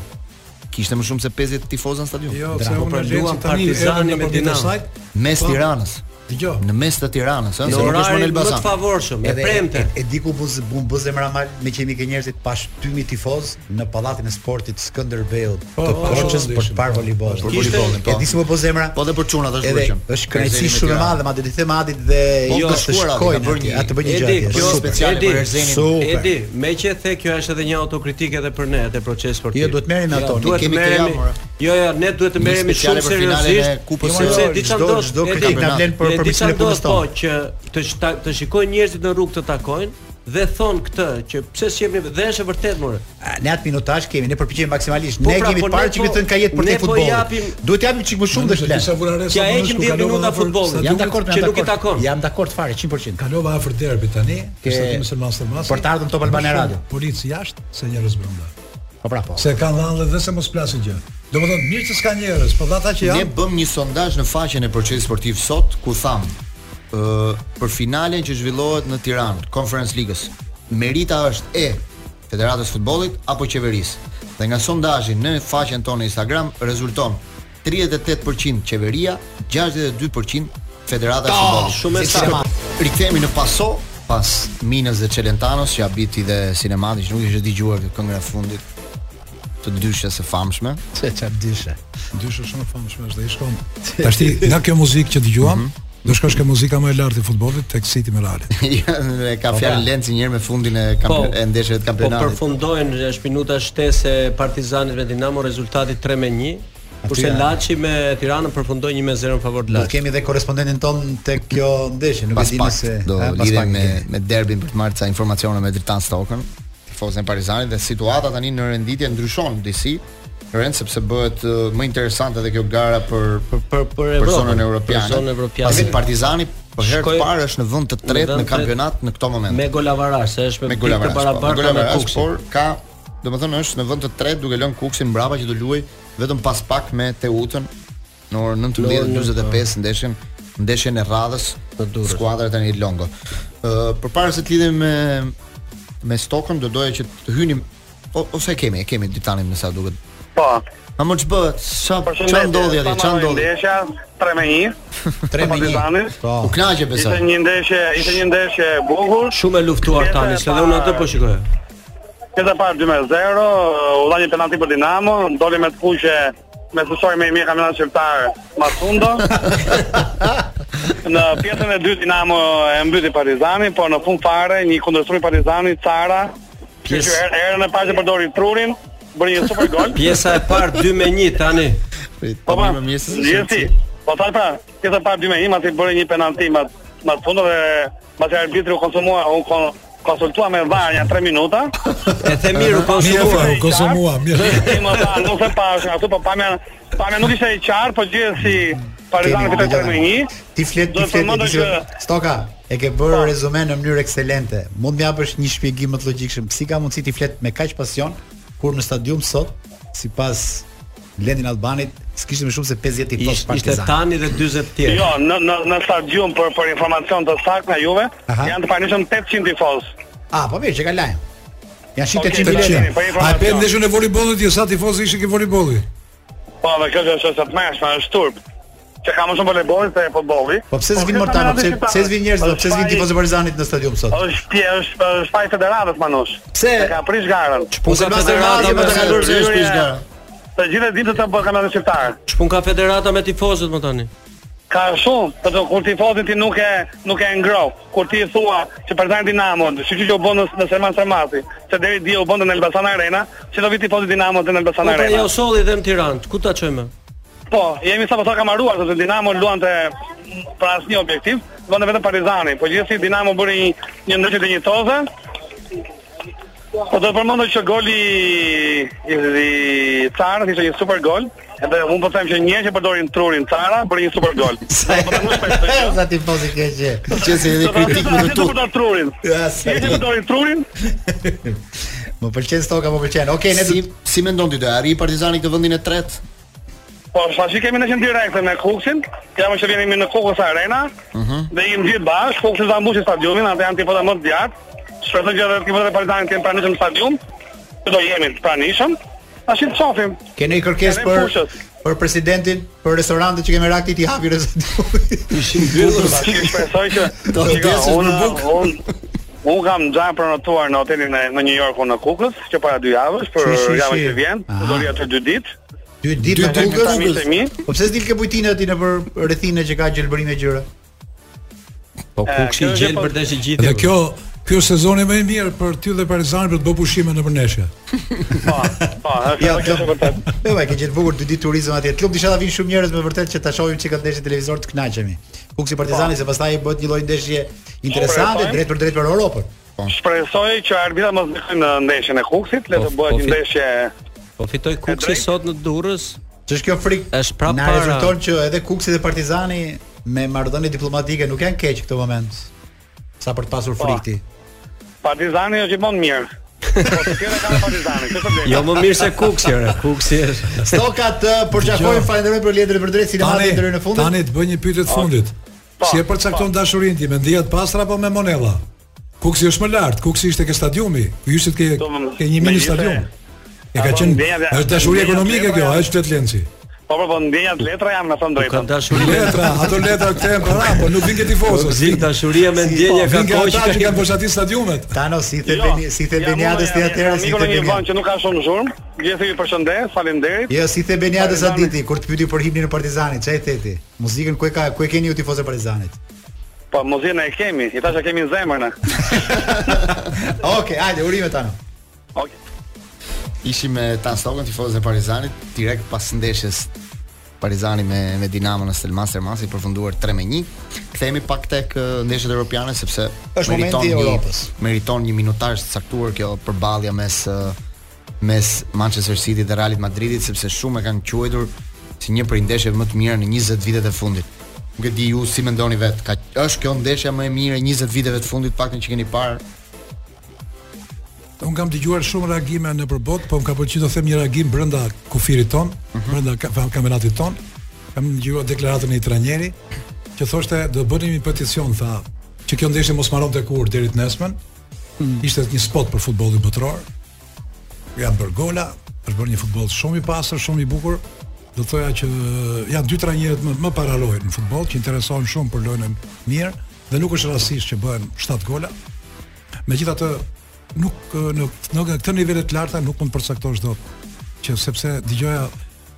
S1: Kishte më shumë se 50 tifozë në stadium.
S3: Jo,
S4: Dra,
S3: se
S4: po
S3: unë
S4: pra,
S3: e lexoj
S4: luan
S3: tani
S4: Partizani
S3: edhe
S4: me
S3: nëpërmjet
S4: Dinamo.
S3: asaj.
S1: Mes
S3: Po,
S1: Tiranës.
S3: Dëgjoj.
S1: Në mes të Tiranës, ëh, se
S4: Në
S1: nuk është në
S4: orarin më të
S1: Elbasan.
S4: favorshëm, e premte.
S2: E, e di ku buz bun buz zemra mal me qemi ke njerëzit pa shtymi tifoz në pallatin e sportit Skënderbeu
S3: Po,
S2: të
S3: po,
S2: Korçës
S3: po,
S2: për të parë voleybollin.
S1: Për voleybollin, po.
S2: E di si më buz zemra.
S1: Po dhe për çunat është
S2: Edhe
S1: vërtet.
S2: është kënaqësi shumë e madhe, madje të them Adit dhe
S1: Po,
S2: jo
S1: ka
S2: të
S1: shkuar Adi,
S2: shkojnë
S1: ka bërë
S2: atje,
S1: një-
S2: a të bëjë një
S4: Edi,
S2: gjë. atje,
S1: kjo
S2: super.
S1: është speciale
S4: Edi,
S1: për Erzenin.
S2: Super.
S4: Edi, me që e the kjo është edhe një autokritikë edhe për ne, edhe për proces sportiv.
S2: Jo, duhet merremi ato, ne
S4: duhet
S1: kemi këtë
S4: merremi.
S1: javë, ora.
S4: Jo, jo, ne duhet të
S1: Një
S4: merremi
S1: speciale
S4: shumë
S1: për finalen e
S4: seriozisht.
S1: Kupës
S4: jo,
S1: së
S4: sepse
S1: Evropës.
S4: diçka
S2: Çdo-
S4: ndos.
S2: çdo
S4: Edi,
S2: kampionat. Na vlen për-
S4: e
S2: për
S4: diçka
S2: përpiksimin e punës
S4: ndos, Po
S2: tonë.
S4: që të shta- të shikojnë njerëzit në rrugë të takojnë dhe thon këtë që pse s'jemi dhe është e vërtetë more.
S2: A, Ne atë minutazh kemi, ne përpiqemi maksimalisht.
S4: Po,
S2: ne
S4: pra,
S2: kemi
S4: po,
S2: të
S4: ne
S2: parë që
S4: po-
S2: këtë thënë ka jetë për
S4: ne
S2: te
S4: po
S2: futbolli.
S4: japim-
S2: Duhet japim çik më shumë dhe flet.
S3: Disa vuraresa
S4: Kja
S3: më
S4: heqin
S3: nëshku
S4: 10
S3: kalova
S4: minuta
S3: afër
S4: futbollit.
S3: stadiumit,
S2: Jam dakord,
S4: që
S2: jam
S4: nuk i
S2: dakord.
S4: takon.
S2: Jam dakord fare 100%.
S3: Kalova afër derbit tani, ke
S2: Ke-
S3: stadiumi Selman Sermasi.
S2: Për të ardhën Top Albania
S3: Më shumë
S2: Radio.
S3: Polici jashtë se njerëz brenda.
S2: Po pra po.
S3: Se kanë dhënë dhe se mos flasin gjë. Domethënë mirë që s'ka njerëz, po dhe ata që
S1: Ne
S3: janë
S1: bëm një sondazh në faqen e procesit sportiv sot ku tham ë për finalen që zhvillohet në Tiranë, Conference Ligës. Merita është e Federatës së Futbollit apo qeverisë. Dhe nga sondazhi në faqen tonë Instagram rezulton 38% qeveria, 62% Federata e Futbollit.
S4: shumë e saktë.
S1: Rikthehemi në paso pas Minës dhe Çelentanos që habiti dhe Sinemati që nuk ishte dëgjuar këtë këngë e fundit të dyshës së famshme.
S2: Se çfarë dyshe.
S3: dyshë shumë e famshme është dhe i
S2: (laughs)
S3: shkon. Tashti nga kjo muzikë që dëgjuam,
S2: Mhm.
S3: do shkosh ke muzika më e lartë e futbollit tek City me Real.
S1: Ja, e
S2: Po,
S1: ka
S2: pra.
S1: fjalë Lenci një herë me fundin e kampe, e ndeshjeve të
S4: Po
S1: kampionatit.
S4: përfundojnë është minuta shtesë e Partizanit me Dinamo rezultati 3-1. Kurse Laçi me Tiranën përfundoi 1-0 në favor
S2: Do
S4: të Laçit.
S2: kemi edhe korrespondentin ton tek kjo ndeshje, nuk e
S1: pas
S2: di
S1: pak
S2: nëse
S1: do
S2: a, pas pak
S1: lidhem
S2: e
S1: me
S2: kemi.
S1: me derbin për të marrë ca informacione me Dritan Stokën, tifozën e Partizanit dhe situata tani në renditje ndryshon disi. Rend sepse bëhet uh, më interesante edhe kjo gara për
S4: Për për për Evropën.
S1: personën europiane.
S4: Për zonën europiane.
S1: Pasi Partizani për herë të
S4: Shkoj-
S1: parë është në vend të tretë
S4: vend
S1: në
S4: të
S1: kampionat në këtë moment.
S4: me golavaraj, se është me,
S1: me
S4: pikë
S1: Gulamaras.
S4: të
S1: Me
S4: barabarta me
S1: Gulamaras,
S4: Kuksin.
S1: por ka, domethënë është në vend të tretë duke lënë Kuksin mbrapa që do luaj vetëm pas pak me Teutën në orën 19:45 ndeshjen ndeshjen e radhës
S4: Të Durrës.
S1: skuadra tani e Longo. Ë përpara se të lidhemi me me Stokën do doja që të hynim o, ose e kemi, e kemi ditanin me sa duket.
S5: Po.
S1: A më ç'bëhet? Sa ç'a ndodhi atje? Ç'a ndodhi?
S5: Ndeshja 3-1.
S2: 3-1. Po.
S1: U kënaqe besoj.
S5: Ishte një ndeshje, ishte një ndeshje e bukur.
S4: Shumë e luftuar
S5: Pjesa
S4: tani,
S5: e
S4: se dhe unë atë
S5: parë-
S4: po shikoj.
S5: Pjesa e parë 2-0, uh, u dha një penalti për Dinamo, doli me të fuqe me susoj me i mirë kampionat shqiptar Masundo. në pjesën e dytë Dinamo e mbyti Partizani, por në fund fare një kundërshtim i Partizanit Cara, që er-,
S4: Pjesë-
S5: her- herën e parë që përdori trurin, bërë një super gol.
S4: Pjesa e parë 2 me 1 tani.
S5: Po
S1: më
S5: pa,
S1: më mjesë.
S5: Lirti. Po ta pra, pjesa e parë 2 me 1, masi bëri një penalti më më fund dhe mbasi arbitri u konsumua, u kon, konsultua me VAR janë 3 minuta.
S4: E po
S3: Mirë,
S4: Themiru
S3: po.
S4: konsumuar.
S3: u konsumua, mirë.
S5: Dhe më tha, nuk e pash, aty po pamja, pamja nuk ishte e qartë, po gjithë si Partizani
S2: Kemi
S5: fitoi
S2: një
S5: 3 me 1.
S2: Ti flet,
S5: Do
S2: ti
S5: të
S2: flet.
S5: përmendoj
S2: ti flet.
S5: që- Po.
S2: Stoka, e ke bërë rezume në mënyrë ekselente. Mund më japësh një shpjegim më të logjikshëm si ka mundësi ti flet me kaq pasion kur në stadium sot, sipas Lendin Albanit, s'kishte më shumë se 50 tifoz
S4: Ishte ishte
S2: Partizan.
S4: tani dhe 40 tjerë.
S5: Jo, në në në stadium për për informacion të saktë nga juve,
S2: Aha.
S5: janë të panishëm 800 tifoz.
S2: Ah, po mirë, që ka lajm. Janë
S5: Po,
S2: 800
S5: kemi
S2: bileta.
S5: lajm.
S3: Qenë.
S2: Ah,
S3: A e pe ndeshën e voleybollit ju sa tifoz ishin ke voleybolli?
S5: Po, dhe kjo që është e mëshme, është turp. Që ka më shumë volejbolli se futbolli.
S2: Po pse s'vin
S5: kjo
S2: Mortano,
S5: kampionati
S2: pse
S5: shqiptar
S2: pse s'vin njerëz, po
S5: është
S2: pse s'vin
S5: faj-
S2: tifozë Partizanit në stadium sot?
S5: Është pje, është është faj federatës manush.
S2: Pse?
S5: E ka prish garën.
S4: Çpun ka federata
S2: Elbazi,
S4: me
S2: po ta kaloj
S1: pse është
S5: Zyrje-
S1: gara.
S5: Të gjithë e dinë se të bëhet kampionati shqiptar.
S4: Çpun po ka federata me tifozët më tani.
S5: Ka shumë, të të kur ti fotin ti nuk e nuk e ngroh. Kur ti i thua që Partizani Dinamo, siç që u bën në, në Serman Sermasi, që deri dje u bënte në Elbasan Arena, që do vi ti fotin Dinamo në
S4: Po
S5: Elbasan
S4: pra
S5: Arena.
S4: jo solli dhe në Tiranë. Ku ta çojmë?
S5: Po, jemi sa po sa kamaruar sepse Dinamo luante për asnjë objektiv, luante vetëm Partizani, po gjithsesi Dinamo bëri një, një ndeshje të njëjtose. Po do të përmendoj që goli i, i Carës ishte një super gol, edhe unë po them që një herë që përdorin trurin Cara, bëri një super gol. Po ta thuaj shpesh këtë gjë.
S2: (laughs) Sa tifozë ke që?
S1: Që se edhe kritik me
S5: Asnjë
S1: të
S5: nuk përdorin trurin.
S2: Ja, sa
S5: Një herë që
S2: i-
S5: përdorin trurin,
S2: Më pëlqen Stoka, më pëlqen. Okej, ne do
S1: Si si mendon ti do e arrijë Partizani këtë vendin e tretë?
S5: Po, tash kemi në qenë direkte me Kuksin, jam që vjenimi në Kukës Arena, dhe jemi gjithë bashkë, Kuksi ta mbushi stadiumin, atë janë tifota më të djatë, shpresoj që edhe tifotët e Partizanit të jenë pranishëm në stadium, që do jemi të pranishëm, tash i të shohim.
S2: Kene i kërkes
S5: Kene
S2: për
S5: pushës.
S2: për presidentin, për restorantet që kemi rakti ti hapi rezultatin.
S5: Tash i shpresoj që
S1: Do të
S5: Shiko,
S1: vdesësh
S5: unë
S1: për bukë.
S5: unë unë kam gjatë prenotuar në hotelin e- në New York unë në Kukës, që para dy javësh, për
S2: Shi, shi,
S5: javën
S2: shi.
S5: që vjen,
S2: Aha.
S5: do ri aty (laughs) dy ditë.
S2: Dy ditë
S1: Dy
S2: me
S1: ditë
S2: Kukës.
S1: me
S5: Miqtë e mi,
S2: Po pse s'dil ke bujtina aty në për rrethinë që ka gjelbërime gjëra?
S4: Po kuksi
S5: kjo
S4: i
S5: është
S4: gjel
S5: po-
S4: për desh i gjithë.
S3: Dhe kjo Ky është sezoni më i mirë për ty dhe Partizani për të bërë pushime në përneshje.
S5: po, po, është
S2: Jo,
S5: kjo është e vërtetë.
S2: (laughs) Jo, ma ke gjetë bukur dy ditë turizëm atje. Klub disha ta vinë shumë njerëz me vërtet që ta shohim çka ndeshje televizor të kënaqemi. Kuksi Partizani se pastaj bëhet një lloj ndeshje interesante,
S5: Po,
S2: drejt për drejt për Europën.
S5: Shpresoj që arbitra mos ndikojnë në ndeshjen e Kuksit, le të
S4: Po,
S5: bëhet
S4: po,
S5: një
S4: fi-
S5: ndeshje
S4: Po fitoi kuksi
S5: drejtë.
S4: sot në Durrës.
S2: Ç'është kjo frikë?
S4: Është prapë
S2: Na
S4: para.
S2: rezulton që edhe Kuksi dhe Partizani me marrëdhënie diplomatike nuk janë keq këtë moment. Sa për të pasur
S5: Po.
S2: frikë ti.
S5: Partizani është gjithmonë mirë. Po të tjerë kanë Partizani, këtë problemi.
S4: Jo më mirë se kuksi, ore. Kuksi është.
S2: Stoka të përqafojmë, falenderoj për letër për drejt sinematik deri në fundin.
S3: Jo. tani të bëj një pyetje të fundit.
S5: Po,
S3: Si e përcakton dashurinë time, ndihet pastra apo me monella? Kuksi është më lart, Kuksi ishte ke stadiumi, ju ishit ke
S5: Do më-
S3: ke një mini
S5: megjithëse-
S3: stadium. E ka
S5: Apo
S3: qenë
S5: ndjenja dhe-
S3: është dashuri
S5: ndjenja
S3: ekonomike
S5: dhe-
S3: kjo, a është letlenci.
S5: Po po po ndjenjat letra jam në thënë
S4: Ka
S5: drejtën.
S4: dashuri.
S3: Letra, ato letra kthehen para, po nuk vin ke tifozës.
S4: Zik dashuria me ndjenja ka
S3: Vin ke
S4: kohë
S3: po, ata që
S4: që
S3: kanë përshati stadiumet.
S2: Tano si the
S5: Jo.
S2: beni, si the beniades ti atëherë si
S5: si
S2: the
S5: të një vend
S2: beniades.
S5: që nuk ka shumë zhurmë, gjithë ju përshëndes, faleminderit.
S2: Jo, si the beniades
S5: Partizani.
S2: Aditi kur të pyeti për himnin e Partizanit, çai theti? Muzikën ku e ka, ku e keni ju tifozë (laughs) Partizanit?
S5: Po muzikën e kemi, i tash e kemi në zemër na.
S2: Okej, hajde, urime Tano.
S5: Okej.
S1: Ishim me Tan Stokën, tifozët e Partizanit, direkt pas ndeshjes Partizani me me Dinamo në Selman Sermasi përfunduar 3 me 1. Kthehemi pak tek ë, ndeshjet europiane sepse
S2: Është momenti
S1: një-
S2: i Europës.
S1: Meriton një minutazh të caktuar kjo përballja mes ë, mes Manchester City dhe Realit Madridit sepse shumë e kanë quajtur si një prej ndeshjeve më të mira në 20 vitet e fundit. Nuk e di ju si mendoni vet, ka është kjo ndeshja më e mirë e 20 viteve të fundit paktën që keni parë
S3: Un kam dëgjuar shumë reagime në përbot, po më ka pëlqyer të them një reagim brenda kufirit ton, brenda ka- fa- kampionatit ton. Kam dëgjuar deklaratën e një trajneri që thoshte do bënim një peticion tha, që kjo ndeshje mos mbaronte kur deri të nesmen. Mm. Ishte një spot për futbollin botror. Janë bërë gola, është bërë një futboll shumë i pastër, shumë i bukur. Do thoja që janë dy trajnerët më, më paralojë në futboll, që interesohen shumë për lojën mirë dhe nuk është rastisht që bëhen 7 gola. Megjithatë nuk eh, në në këtë nivele të larta nuk mund të përcaktosh dot. Që sepse dëgjoja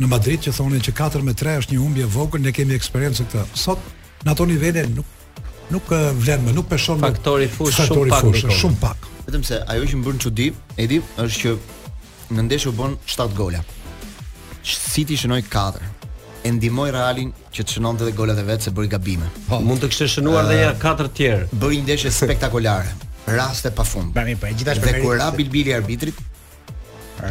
S3: në Madrid që thonin që 4 me 3 është një humbje e vogël, ne kemi eksperiencë këtë. Sot në ato nivele nuk nuk eh, vlen më, nuk peshon më.
S4: Faktori fush shumë
S3: Faktori
S4: pak,
S3: fush,
S4: Nikola.
S3: shumë pak.
S1: Vetëm se ajo që më bën çudi, Edi, është që në ndeshje u bën 7 gola. City shënoi 4. E ndihmoi Realin që të shënonte edhe golat e vet se bëri gabime.
S4: Po, mund të kishte shënuar edhe një katër tjerë.
S1: Bëri një ndeshje spektakolare, raste pafund.
S2: Pra mi, po e gjithash për
S1: Dhe kur
S2: meritë,
S1: ra
S2: se-
S1: bilbili arbitrit,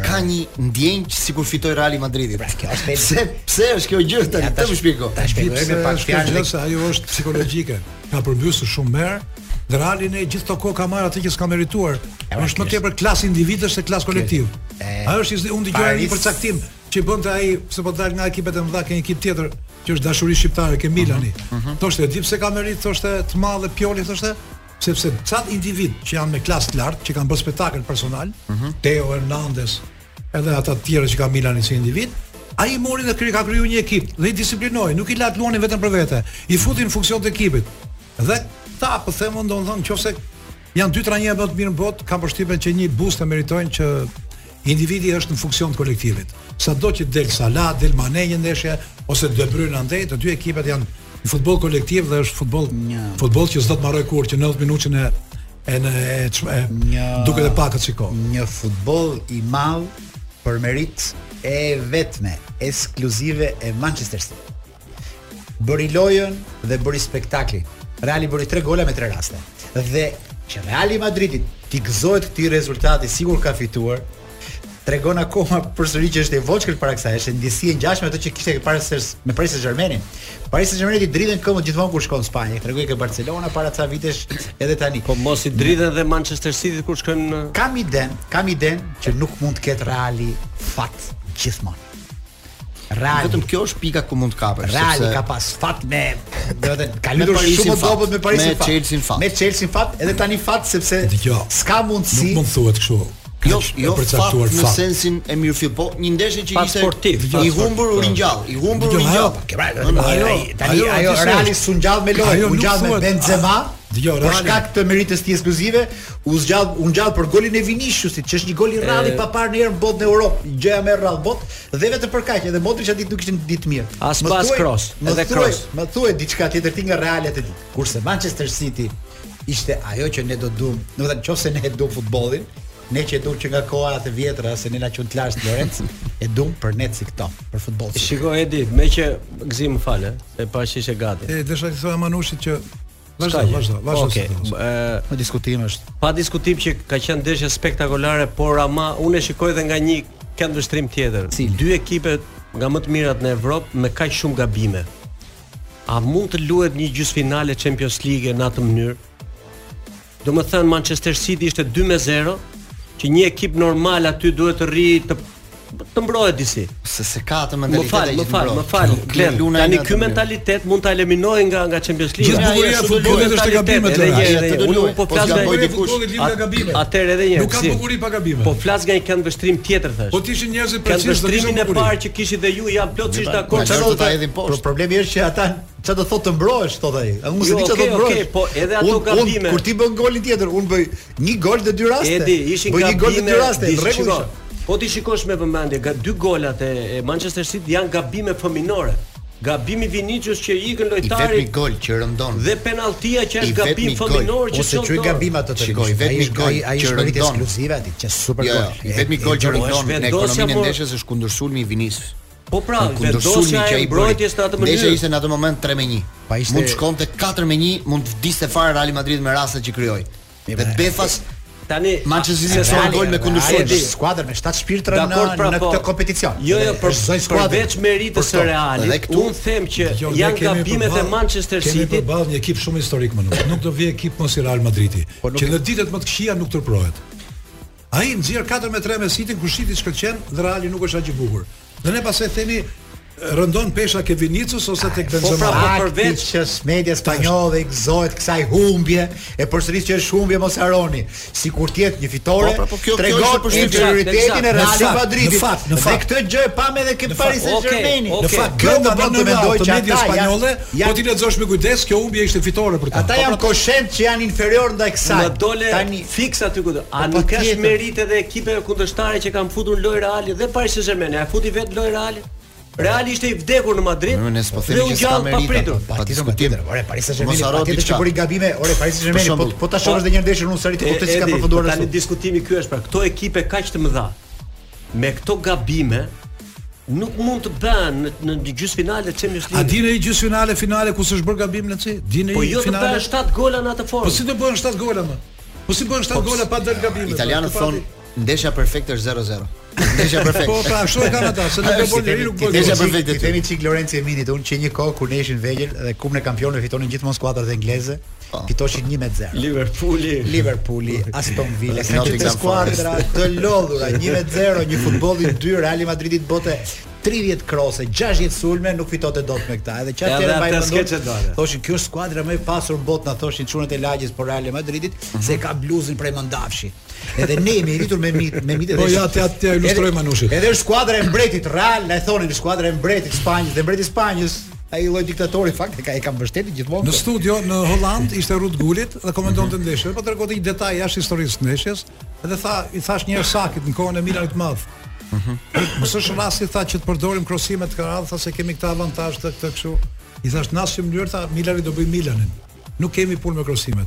S1: ka një ndjenjë që sikur fitoi Reali Madridit.
S2: Pra, kjo është-
S1: pse pse është kjo gjë tani? Të më shpjego.
S2: Ta shpjegoj me pak fjalë.
S3: fjalë se ajo është psikologjike. Ka përmbysur shumë merë dhe Reali ne gjithë të kohë ka marrë atë që s'ka merituar.
S2: ora,
S3: është më
S2: kjo
S3: tepër klas individësh se klas kolektiv.
S2: E,
S3: Ajo është unë dëgjoj një
S2: Paris-
S3: përcaktim që bënte ai se po dal nga ekipet e mëdha ke një ekip tjetër që është dashuri shqiptare ke Milani. Thoshte e di pse ka merit, thoshte të madhe Pioli thoshte sepse çat individ që janë me klasë të lartë, që kanë bërë spektakël personal, Teo Hernandez, edhe ata të tjerë që ka Milani si individ, ai i mori dhe kri- ka kriju një ekip dhe i disiplinoi, nuk i la të luanin vetëm për vete. I futi në funksion të ekipit. Dhe ta po them unë domethënë nëse janë dy trajnerë më të mirë në botë, kam përshtypjen që një boost e meritojnë që Individi është në funksion të kolektivit. Sado që del Salah, del Mane një ndeshje ose De Bruyne andej, të dy ekipet janë në futboll kolektiv dhe është futboll
S2: Një.
S3: futboll që s'do të mbaroj kurrë që 90 minutën e e në e, çm- e
S2: Një-
S3: duket e pakët si kohë.
S2: Një futboll i madh për merit e vetme, ekskluzive e Manchester City. Bëri lojën dhe bëri spektaklin. Reali bëri 3 gola me 3 raste. Dhe që Reali Madridit t'i gëzohet këtij rezultati sigur ka fituar, tregon akoma përsëri që është e voçkël para kësaj, është ndjesi e ngjashme ato që kishte Paris Saint- me Paris Saint-Germainin. Paris Saint-Germaini i dridhen këmbët gjithmonë kur shkon në Spanjë, tregoi ke Barcelona para ca vitesh edhe tani.
S4: Po mos i dridhen dhe Manchester City kur shkojmë në
S2: Kam iden, kam iden që nuk mund të ketë Reali fat gjithmonë. Reali,
S1: Vetëm kjo është pika ku mund të kapesh,
S2: Reali
S1: sepse
S2: ka pas fat me, do të thënë, ka
S1: Me
S2: lidhur
S1: Parisin
S2: shumë
S1: fat,
S2: dobët me Parisin
S1: me Chelsea-n fat.
S2: Me Chelsea fat, edhe tani fat sepse
S3: Dgjoj.
S2: s'ka mundësi.
S3: Nuk mund thuhet kështu.
S1: Jo,
S3: Kaq e
S1: jo fat
S3: përcaktuar
S1: në sensin e mirëfill, po një ndeshje që
S4: Fat
S1: ishte
S4: sportiv,
S1: i
S4: fat
S1: humbur u ringjall, i humbur u
S3: Dgjoj,
S1: ringjall.
S3: ajo-
S2: Ke pra, do të
S3: Ajo-
S2: thënë, ai- tani
S3: ajo-
S2: ajo
S3: ajo-
S2: Reali su ngjall me lojë,
S3: ajo
S2: u
S3: nuk
S2: ngjall me
S3: thuhet- Ah,
S2: Benzema.
S3: A- dgjoj,
S2: Për
S3: Reali-
S2: shkak të meritës të ekskluzive, u zgjall u ngjall për golin e Viniciusit, që është një gol i rralli pa parë në herë në botë në Europë, gjëja më e rrallë botë, dhe vetëm për kaq, edhe Modric atë ditë nuk ishte një ditë mirë.
S4: As
S2: Më
S4: pas
S2: thuaj-
S4: cross,
S2: më
S4: edhe
S2: thuaj-
S4: cross.
S2: Më thuaj diçka tjetër ti nga Reali atë ditë. Kurse Manchester City ishte ajo që ne do duam, do të thënë nëse ne e duam futbollin, ne që e duam që nga koha e vjetra se ne na qun të lashtë Lorenz, e duam për ne si këto, për futboll. si këto.
S4: Shiko Edi, me që gëzim më falë, se pa që ishe gati.
S3: E desha të thoya Manushit që vazhdo,
S4: S'ka gjë.
S3: vazhdo, vazhdo.
S4: Okej,
S3: si do.
S4: ë,
S2: Në diskutim është.
S4: Pa diskutim që ka qenë ndeshje spektakolare, por ama unë e shikoj edhe nga një këndvështrim tjetër.
S2: Cili?
S4: Dy ekipe nga më të mirat në Evropë me kaq shumë gabime. A mund të luhet një gjysmëfinale Champions League në atë mënyrë? Do më thënë Manchester City ishte 2-0 që një ekip normal aty duhet të rri të të mbrohet disi.
S1: Se se ka të
S4: Më fal,
S1: mentalitet
S4: më fal, më fal. Glenn, tani ky mentalitet mund ta eliminojë nga nga Champions League.
S3: Gjithë
S1: Ja,
S3: bukuria
S1: ja,
S3: e
S1: s'u
S3: futbollit
S1: duhet
S3: është e
S4: mentalitet,
S3: gabimeve të
S4: edhe
S1: Real.
S4: një
S3: Reali.
S1: Ja,
S4: edhe
S1: të
S4: unë
S1: luaj,
S4: po
S1: po
S4: flas
S1: s'ka
S4: nga
S1: bojë
S3: Bojë
S1: dikush.
S3: futbollit libre nga gabime.
S4: Atëherë edhe një herë.
S3: Nuk ka
S4: si-
S3: bukuri pa gabime.
S4: Po flas nga një këndvështrim tjetër thash.
S3: Po të ishin njerëz precis do
S4: Këndvështrimin e
S3: bukuri.
S4: parë që kishit dhe ju jam plotësisht
S2: Po,
S1: Çfarë
S4: dakord. Çfarë
S1: do
S4: do
S1: ta
S4: të
S1: hedhin
S2: Por
S1: poshtë?
S2: problemi është që ata çfarë do thotë të mbrohesh thotë ai. A Unë s'e
S4: Jo,
S2: di çfarë do
S4: okay,
S2: mbrohesh.
S4: okay, po edhe ato
S2: Unë- unë,
S4: gabime-
S2: Kur ti bën golin tjetër, unë bëj një gol dhe dy raste.
S4: Edi, ishin
S2: bëj një gol dhe
S4: gabime.
S2: dy raste,
S4: di-
S2: rregull.
S4: shiko, Po ti shikosh me vëmendje, ga dy golat e, e Manchester City janë gabime fëminore. Gabimi Vinicius që i ikën
S1: I vetmi
S4: lojtarit
S1: gol që rëndon.
S4: dhe penalltia që
S1: I
S4: është gabim
S1: vetmi gol.
S4: fëminor që
S2: Ose çoj
S4: çon
S2: gabim ato të
S1: Shikoj,
S2: Ai
S1: vetmi
S2: është-
S1: gol
S2: ai- ai
S1: që
S2: është merit
S1: rëndon.
S2: ekskluzive aty, që super
S1: Jo,
S2: gol.
S1: jo, i vetmi gol që
S4: e-
S1: rëndon
S4: është
S1: në
S4: vendosja,
S1: ekonominë e
S4: por-
S1: ndeshjes është kundërsulmi i Vinicius.
S4: Po pra,
S1: Në
S4: vendosja e
S1: i bëri.
S4: mbrojtjes në atë
S1: Ndeshja
S4: mënyrë.
S1: ishte në atë moment 3 me 1.
S2: Pa, ishte-
S1: Mund të shkonte 4 me 1, mund të vdiste fare Real Madrid me rastet që krijoi.
S2: Mi,
S1: Dhe
S2: pra,
S1: Befas
S4: Tani
S1: Manchester City
S4: se
S1: son
S4: Reali-
S1: gol me kundërshtim.
S2: Ai është skuadër me 7 shpirtra në
S4: Dakor, pra,
S2: në
S4: po.
S2: këtë kompeticion.
S4: Jo, jo, për,
S2: Është zonjë skuadër.
S4: përveç meritës së
S2: Për
S1: Dhe
S2: këto.
S4: Realit,
S1: këtu-
S4: unë them që
S3: Jo, ne
S4: janë
S3: kemi
S4: gabimet e
S3: përballë-
S4: Manchester
S3: Kemi
S4: City.
S3: përballë një ekip shumë historik më nuk. Nuk do vi ekip mos i Real Madridi,
S2: nuk
S3: që
S2: e-
S3: në ditët më të këqija nuk tërprohet. Ai nxjerr 4 me 3 me City kur City shkëlqen dhe Reali nuk është aq i bukur. Dhe ne pastaj themi rëndon pesha ke Vinicius ose tek
S4: po
S3: Benzema.
S4: pra, po
S2: Akti
S4: përveç-
S2: që media spanjolle i gëzohet kësaj humbje, e përsëris që është humbje mos harroni, sikur të jetë një fitore,
S1: Po, pra, po, kjo- kjo
S2: tregon
S1: është përshtypje.
S2: prioritetin e
S4: Në
S2: Real
S3: fakt,
S2: Madridit.
S3: në fakt, në
S2: Dhe
S3: fakt.
S2: këtë gjë e pam edhe ke Paris
S4: fakt, okej,
S2: Saint-Germain.
S4: okej.
S3: Në fakt,
S2: kjo
S3: kjo
S2: më
S3: nga
S4: po
S2: bën të mendoj që
S3: media
S2: ata
S3: spanjolle,
S2: janë-
S3: po ti po pra- lexosh me kujdes, kjo humbje ishte fitore për ta.
S2: Ata janë koshent që janë inferior ndaj kësaj.
S4: Më dole
S2: Tani
S4: fiks aty ku do. A
S2: Po,
S4: nuk
S2: patjetër.
S4: është merit edhe ekipeve kundërshtare që kanë futur lojë Reali dhe Paris Saint-Germain? A futi vetë lojë Reali? Reali ishte i vdekur në Madrid.
S1: Mirë, ne s'po themi
S4: dhe u
S1: që s'ka
S4: gjallë pa
S1: merita,
S4: pritur.
S1: po, Pa
S2: pa tjetër, pa
S1: diskutim.
S2: tjetër. Ore, Paris Saint-Germain,
S1: Mos harro
S2: pa tjetër që
S1: diçka.
S2: bëri gabime. Ore, Paris Saint-Germain,
S1: Për
S2: po
S1: shembull,
S2: po ta shohësh
S4: po-
S2: dhe një ndeshje në Unsari të kuptoj se ka
S4: Edi,
S2: përfunduar
S4: po Tani
S2: ashtu.
S4: diskutimi ky është pra këto ekipe kaq të mëdha me këto gabime nuk mund të bën në, në gjysmëfinale të Champions
S3: A
S4: League.
S3: dinë i gjysë finale, finale ku s'është bërë gabim në çi? Dinë
S4: Po
S3: i
S4: jo të
S3: finale.
S4: bën 7 gola në atë
S3: Po
S4: formë.
S3: si të bëhen 7 gola më? Po si bëhen 7 gola pa dalë gabime?
S1: Italianët
S3: Po,
S1: thonë ndeshja perfekte është 0-0.
S4: (laughs)
S1: Ndeshja perfekte.
S3: Po pra ashtu e kanë ata, se nuk e bën njëri nuk bën.
S1: Ndeshja
S3: gol.
S1: perfekte ty.
S2: I themi çik Lorenzo Eminit, unë që një kohë kur ne ishin vegjël dhe kupën e kampionëve fitonin gjithmonë skuadrat angleze, fitoshin 1-0.
S4: Liverpooli.
S2: Liverpooli, Aston Villa, ka
S1: Nottingham
S2: të
S1: Forest.
S2: skuadra të lodhura 1-0, një futbolli dy Real Madridi të bote 30 krose, 60 sulme, nuk fitonte dot me këta. Edhe çfarë
S4: Edhe
S2: tjerë mbajnë
S4: atë s'ke që
S2: mendon?
S4: dore.
S2: Thoshin kjo është skuadra më e pasur në botë, na thoshin çunët e lagjës por Real Madridit se ka bluzën prej Mandafshi. Edhe ne jemi rritur me mit, me mit.
S3: Po, ja, t'ja- t'ja ilustroj Manushit.
S2: Edhe është skuadra e mbretit Real, na e thonin skuadra e mbretit Spanjës dhe mbreti i Spanjës ai lloj diktatori fakt e ka e ka mbështetur gjithmonë.
S3: Në studio në Holland ishte Rut Gullit dhe komentonte ndeshjen. Po tregonte një detaj jashtë historisë të ndeshjes dhe tha i thash një herë sakit në kohën e Milanit të madh. Mhm. Mos është rasti tha që të përdorim krosime të radhë, tha se kemi këtë avantazh të këtë kështu. I thash në asnjë mënyrë tha Milani do bëj Milanin. Nuk kemi punë me krosimet.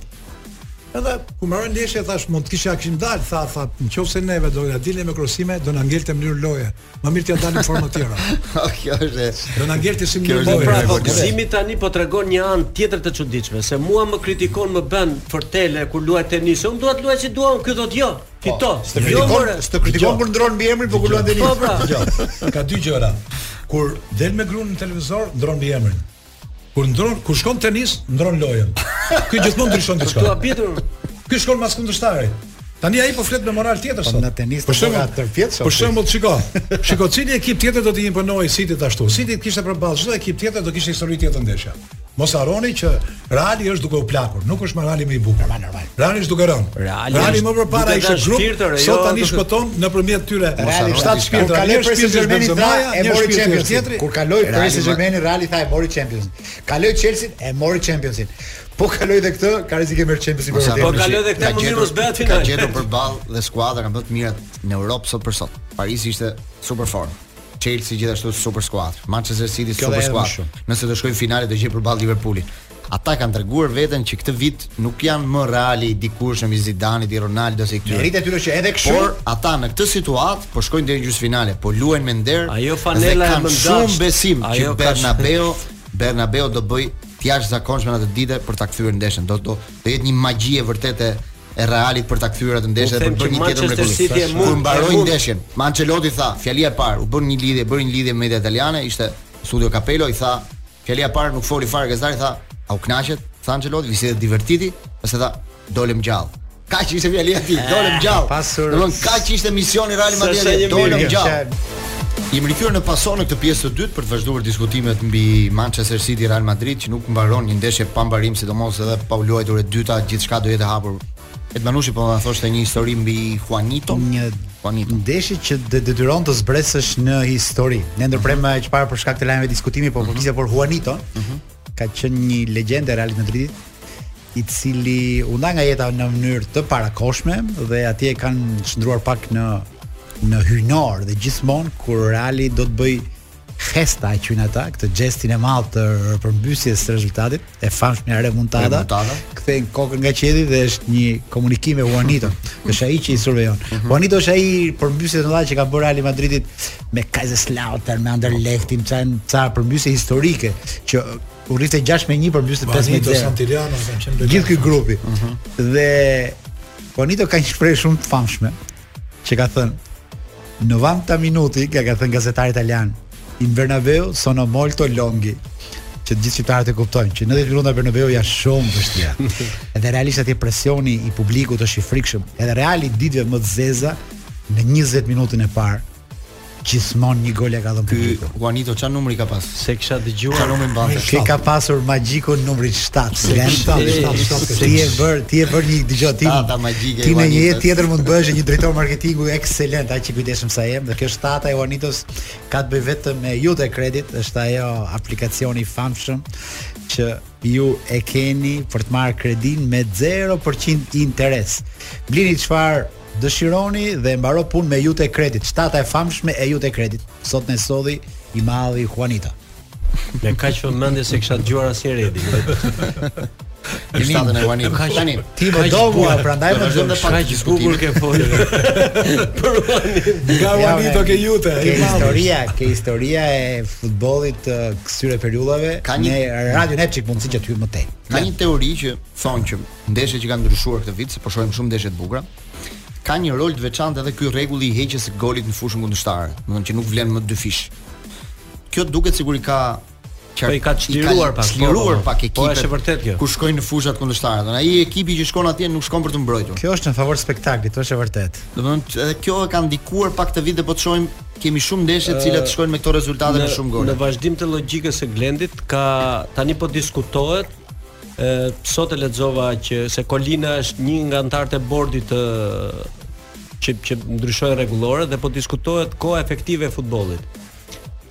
S3: Edhe ku marrën ndeshje thash mund të kisha kishim dalë, tha tha nëse neve do na dilnim me krosime do na ngelte në mënyrë loje. Më mirë t'ia dalim forma tjera.
S1: (laughs) Po, Kjo është.
S3: Do na ngelte si
S1: Kjo
S3: mënyrë
S1: është
S4: Po
S3: loje.
S4: pra,
S1: Po,
S4: fokusimi tani po tregon një anë tjetër të çuditshme, se mua më kritikon më bën Fortele kur luaj tenis. Unë dua të luaj si dua, unë ky thotë
S3: Po,
S4: jo. Fito.
S2: Të
S4: Jo,
S2: kritikon,
S4: more.
S2: të kritikon kur ndron mbi emrin, po kur luan Denis.
S4: Po pra.
S3: Dgjoj, ka dy gjëra. Kur del me gruan në televizor, ndron mbi emrin. Kur ndron, kur shkon tenis, ndron lojën. Ky gjithmonë ndryshon
S4: Tu
S3: diçka.
S4: habitur.
S3: Ky shkon mas kundërshtarit. Tani ai po flet me moral tjetër sot.
S2: në tenis
S3: Për
S2: të
S3: shembull,
S2: bëra tërpjet, sot.
S3: Për shembull,
S2: (laughs)
S3: shiko. Shiko cili ekip tjetër do të imponojë City ashtu. City kishte përballë çdo ekip tjetër do kishte histori tjetër ndeshja. Mos harroni që Reali është duke u plakur, nuk është më Reali më i bukur. Normal, normal. Reali është duke rënë.
S4: Reali
S3: Reali
S4: është
S3: më përpara
S4: duke
S3: ishte
S4: dhënë
S3: grup,
S4: shpirtër,
S3: sot
S4: jo
S3: tani
S4: duke-
S3: shpëton nëpërmjet tyre.
S2: Reali
S1: harroni
S3: shtat
S1: diçka.
S3: shpirtra,
S2: Kur kaloi
S3: një shpirtër
S2: Paris Saint-Germain
S3: Benzemaja,
S2: e
S3: një
S2: mori
S3: shpirtër
S2: Champions
S3: tjetri.
S2: League. Kur kaloi
S1: Reali
S2: Paris
S1: ma-
S2: Saint-Germain Reali tha e mori Champions League. Kaloi Chelsea e mori Champions League. Po kaloi edhe këtë, ka rrezik e merr Champions League. për
S4: Po
S2: vërtetë.
S4: kaloi edhe këtë,
S1: Ka
S4: më mirë
S1: gjetur-
S4: mos bëhet final.
S1: Ka gjetur përballë dhe skuadra kanë bërë të mirat në Europë sot për sot. Parisi ishte super form. Chelsea gjithashtu super skuadër. Manchester City
S2: Kjo
S1: super
S2: dhe erdhi më
S1: skuadër. Nëse do shkojnë në finale do gjej përballë Liverpoolin. Ata kanë treguar veten që këtë vit nuk janë më Reali i dikurshëm i Zidanit, i Ronaldos e këtyre.
S2: Merita tyre që edhe kështu
S1: Por ata në këtë situatë po shkojnë deri në gjysmëfinale, po luajnë me nder.
S4: Ajo
S1: dhe
S4: fanela e
S1: kanë
S4: mëndasht.
S1: shumë besim
S4: Ajo
S1: që
S4: ka sh-
S1: Bernabeu, Bernabeu do bëj të jashtëzakonshme në atë ditë për ta kthyer ndeshën. Do do do jetë një magji e vërtetë e Realit për ta kthyer atë ndeshën
S4: U
S1: dhe për
S4: them
S1: bërë
S4: që
S1: një tjetër
S4: Manchester
S1: mrekulli.
S4: City e mund-
S1: Kur
S4: e
S1: mbaroi
S4: mund-
S1: ndeshjen, ma Ancelotti tha, fjalia e parë, u bën një lidhje, bëri një lidhje me media italiane, ishte Studio Capello i tha, fjalia e parë nuk foli fare gazetari, tha, a u kënaqet? Tha Ancelotti, visi dhe divertiti, pastaj tha, dolem gjallë. Kaq ishte fjalia e tij,
S4: Eh,
S1: dolem gjallë.
S2: pasur-
S1: Domthon kaq ishte misioni i Real
S4: Sa
S1: Madrid,
S4: sa jemi
S1: dolem
S4: mirë,
S1: gjallë. Jemi rikthyer në pason në këtë pjesë të dytë për të vazhduar diskutimet mbi Manchester City Real Madrid që nuk mbaron një ndeshje pa mbarim, sidomos edhe pa u luajtur e dyta, gjithçka do jetë e hapur. Et Manushi po na thoshte një histori mbi Juanito.
S2: një
S1: Juanito.
S2: ndeshje që dë- detyron të zbresësh në histori. Ne ndërprem mm çfarë për shkak të lajmeve diskutimi, po përgjithësisht për Juanito, ka qenë një legjendë e Real Madridit i cili u nda nga jeta në mënyrë të parakoshme dhe atje e kanë shndruar pak në në hynor dhe gjithmonë kur Reali do të bëj gesta e qynë ata, këtë gestin e madh të përmbysjes së rezultatit, e famshme e remontada,
S1: Remontada.
S2: kthejn kokën nga qielli dhe është një komunikim me Juanito. Është ai që i survejon. Juanito është ai përmbysje të mëdha që ka bërë Real Madridit me Kaiserslautern, me Anderlechtin, ça ça përmbysje historike që u rriste 6 me 1 përmbysje 5 me
S3: Banito
S2: 0.
S3: Santillano kanë qenë
S2: Gjithë ky grupi. Dhe Juanito ka një shprehje shumë të famshme që ka thënë 90 minuti, ka ka thënë gazetari italian, in Bernabeu sono molto longhi që të gjithë shqiptarët e kuptojnë që 90 minuta Bernabeu janë shumë vështira. Edhe realisht atje presioni i publikut është i frikshëm. Edhe reali ditëve më të zeza në 20 minutën e parë gjithmonë një gol e ka dhënë
S1: Ky
S2: publiku.
S1: Juanito çfarë numri ka pas?
S4: Se kisha
S1: Çfarë
S4: dëgjuar
S1: numri mbante?
S2: Ke ka pasur magjikun numri 7.
S3: shtat, shtat, shtat,
S2: Ti e bër, ti e bër një dëgjoj ti.
S1: Shtata magjike e
S2: Ti në një jetë
S1: Juanitos.
S2: tjetër mund të bësh një drejtor marketingu ekselent, aq i kujdesshëm sa jam, dhe kjo shtata e Juanitos ka të bëjë vetëm me ju të kredit, është ajo aplikacioni i famshëm që ju e keni për të marrë kredin me 0% interes. Blini çfarë dëshironi dhe mbaro punë me Jute Credit, shtata e famshme e Jute Credit. Sot ne sodhi i madhi Juanito.
S4: me kaq vëmendje se kisha dëgjuar asnjë redi.
S1: Në shtatën e Guanit. Tani,
S2: Ti më do mua, prandaj më do.
S1: zënë pak
S4: Bukur
S1: diskutime.
S4: ke folur. (laughs) Për Ruanin.
S3: Nga
S2: Ja,
S3: Ruani
S2: me,
S3: do ke jute.
S2: Ke
S3: i madh.
S2: historia, ke historia e futbollit të këtyre periudhave.
S1: Ka një-
S2: Ne Radio Nepçik mundsi që ty më tej.
S1: Ka një teori që thonë që ndeshjet që kanë ndryshuar këtë vit, se po shohim shumë ndeshje të bukura, ka një rol të veçantë edhe ky rregulli i heqjes së golit në fushën kundërshtare, do të thonë që nuk vlen më dy fish. Kjo duket sigur i ka qar-
S4: Po, i ka çliruar pak, po,
S1: çliruar
S4: po, po.
S1: pak ekipet.
S4: Po, është e vërtetë kjo.
S1: Ku shkojnë në fushat kundërshtare. Do të thonë ai ekipi që shkon atje nuk shkon për të mbrojtur.
S2: Kjo është në favor spektaklit, është e vërtet.
S1: Do të thonë që edhe kjo e ka ndikuar pak këtë vit dhe po të shohim kemi shumë ndeshje të cilat shkojnë me këto rezultate me shumë
S4: Në
S1: gole.
S4: vazhdim të logjikës së Glendit ka tani po diskutohet ë sot e lexova që se Kolina është një nga antarët e bordit të që që ndryshoi rregullore dhe po diskutohet koha efektive e futbollit.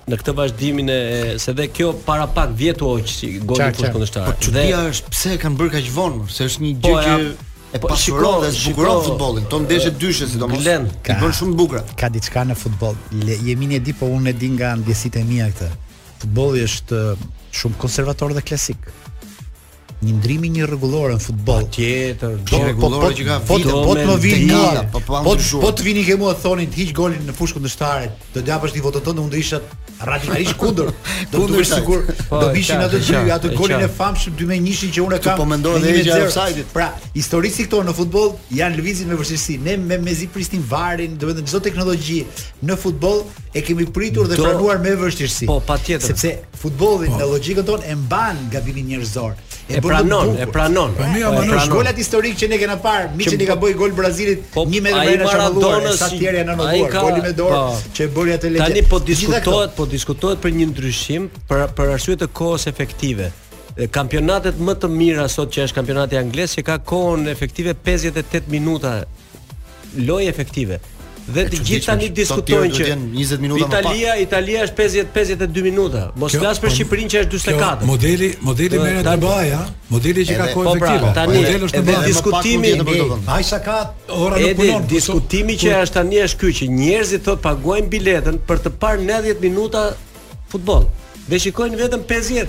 S4: Në këtë vazhdimin e se dhe kjo para pak vjetu hoq si goli
S2: Qartë,
S4: fush
S2: qartë.
S4: kundështar.
S1: Po çudia është pse e kanë bërë kaq vonë, se është një gjë
S4: Po,
S1: që
S4: ja,
S1: e
S4: po,
S1: pasuron
S4: shiko,
S1: dhe zbukuron
S4: shiko,
S1: futbollin. To ndeshje dyshe sidomos.
S4: Glen,
S1: I bën shumë të bukura.
S2: Ka diçka në futboll. Le- Jemini e di, po unë e di nga ndjesitë e mia këtë. Futbolli është ë, shumë konservator dhe klasik. Një ndrimi një rregullore në futboll.
S4: tjetër
S1: Një
S2: Po,
S4: do
S1: rregullore
S2: po, po,
S1: që ka
S2: po,
S1: vite,
S2: po, po të më vini
S1: me
S2: mua,
S1: dekada, po, po,
S2: po,
S1: ndryshuar.
S2: po të vini ke mua thonin hiq golin në fushë kundërshtare. Do të japësh ti votën tënde, unë do isha radikalisht
S1: (laughs)
S2: kundër. Do të duhesh
S1: Kundërshtar.
S2: sigur
S4: Po,
S2: do
S4: e
S2: vishin
S4: qartë,
S2: atë
S4: e
S2: gjë,
S4: qartë,
S2: atë
S4: e
S2: golin e
S4: qartë.
S2: famshëm 2-1-shin që unë e kam.
S1: po mendon
S2: me
S1: edhe heqja e
S2: 1-0.
S1: offside-it.
S2: Pra, historisi këto në futboll janë lëvizit me vështirësi. Ne me mezi prisnim varin, domethënë çdo teknologji në futboll e kemi pritur dhe
S4: Do-
S2: pranuar me vështirësi.
S4: Po, patjetër.
S2: Sepse futbolli
S1: Po.
S2: në logjikën tonë e mban gabimin njerëzor.
S4: e
S2: bën të
S4: pranon,
S2: bukur.
S4: e pranon.
S3: Po, mirë,
S4: E
S3: ama nuk
S2: Pra
S4: pranon.
S2: golat historik që ne kena parë, Miçi i ka bëj gol Brazilit,
S4: Po,
S2: një me
S4: ai
S2: dorë na çarkulluar,
S4: Maradonës
S2: sa
S4: që-
S2: tjerë janë
S4: ai
S2: anulluar,
S4: ka-
S2: goli me dorë
S4: po.
S2: që e bëri atë legjë.
S4: Tani po
S2: Gjitha këto.
S4: diskutohet, po diskutohet për një ndryshim për për arsye të kohës efektive. Dhe Kampionatet më të mira sot që është kampionati anglisht që ka kohën efektive 58 minuta lojë efektive. Dhe të
S1: çuditshme
S4: gjithë
S1: që
S4: tani
S1: sot tjerë
S4: diskutojnë
S1: duhet
S4: që
S1: jenë 20 minuta më pak.
S4: Italia, Italia është 50 52 minuta. Mos
S3: Kjo-
S4: flas
S3: po,
S4: për Shqipërinë që është
S3: kjo
S4: 44.
S3: Modeli, modeli
S4: Do-
S3: merret në
S4: tani-
S3: baj, ha. Modeli që ka
S1: Edhe-
S3: kohë
S4: po, pra,
S3: efektive.
S4: tani-
S3: modeli është në
S4: edhe
S3: baj.
S4: dis- diskutimi-
S1: Më pak nuk jetë për të vënë.
S2: Ai sa ka
S3: Ora nuk
S4: Edhe
S3: punon. po,
S4: diskutimi
S3: po,
S4: që është tani është ky që njerëzit thot paguajnë biletën për të parë 90 minuta futboll. Dhe shikojnë vetëm 50.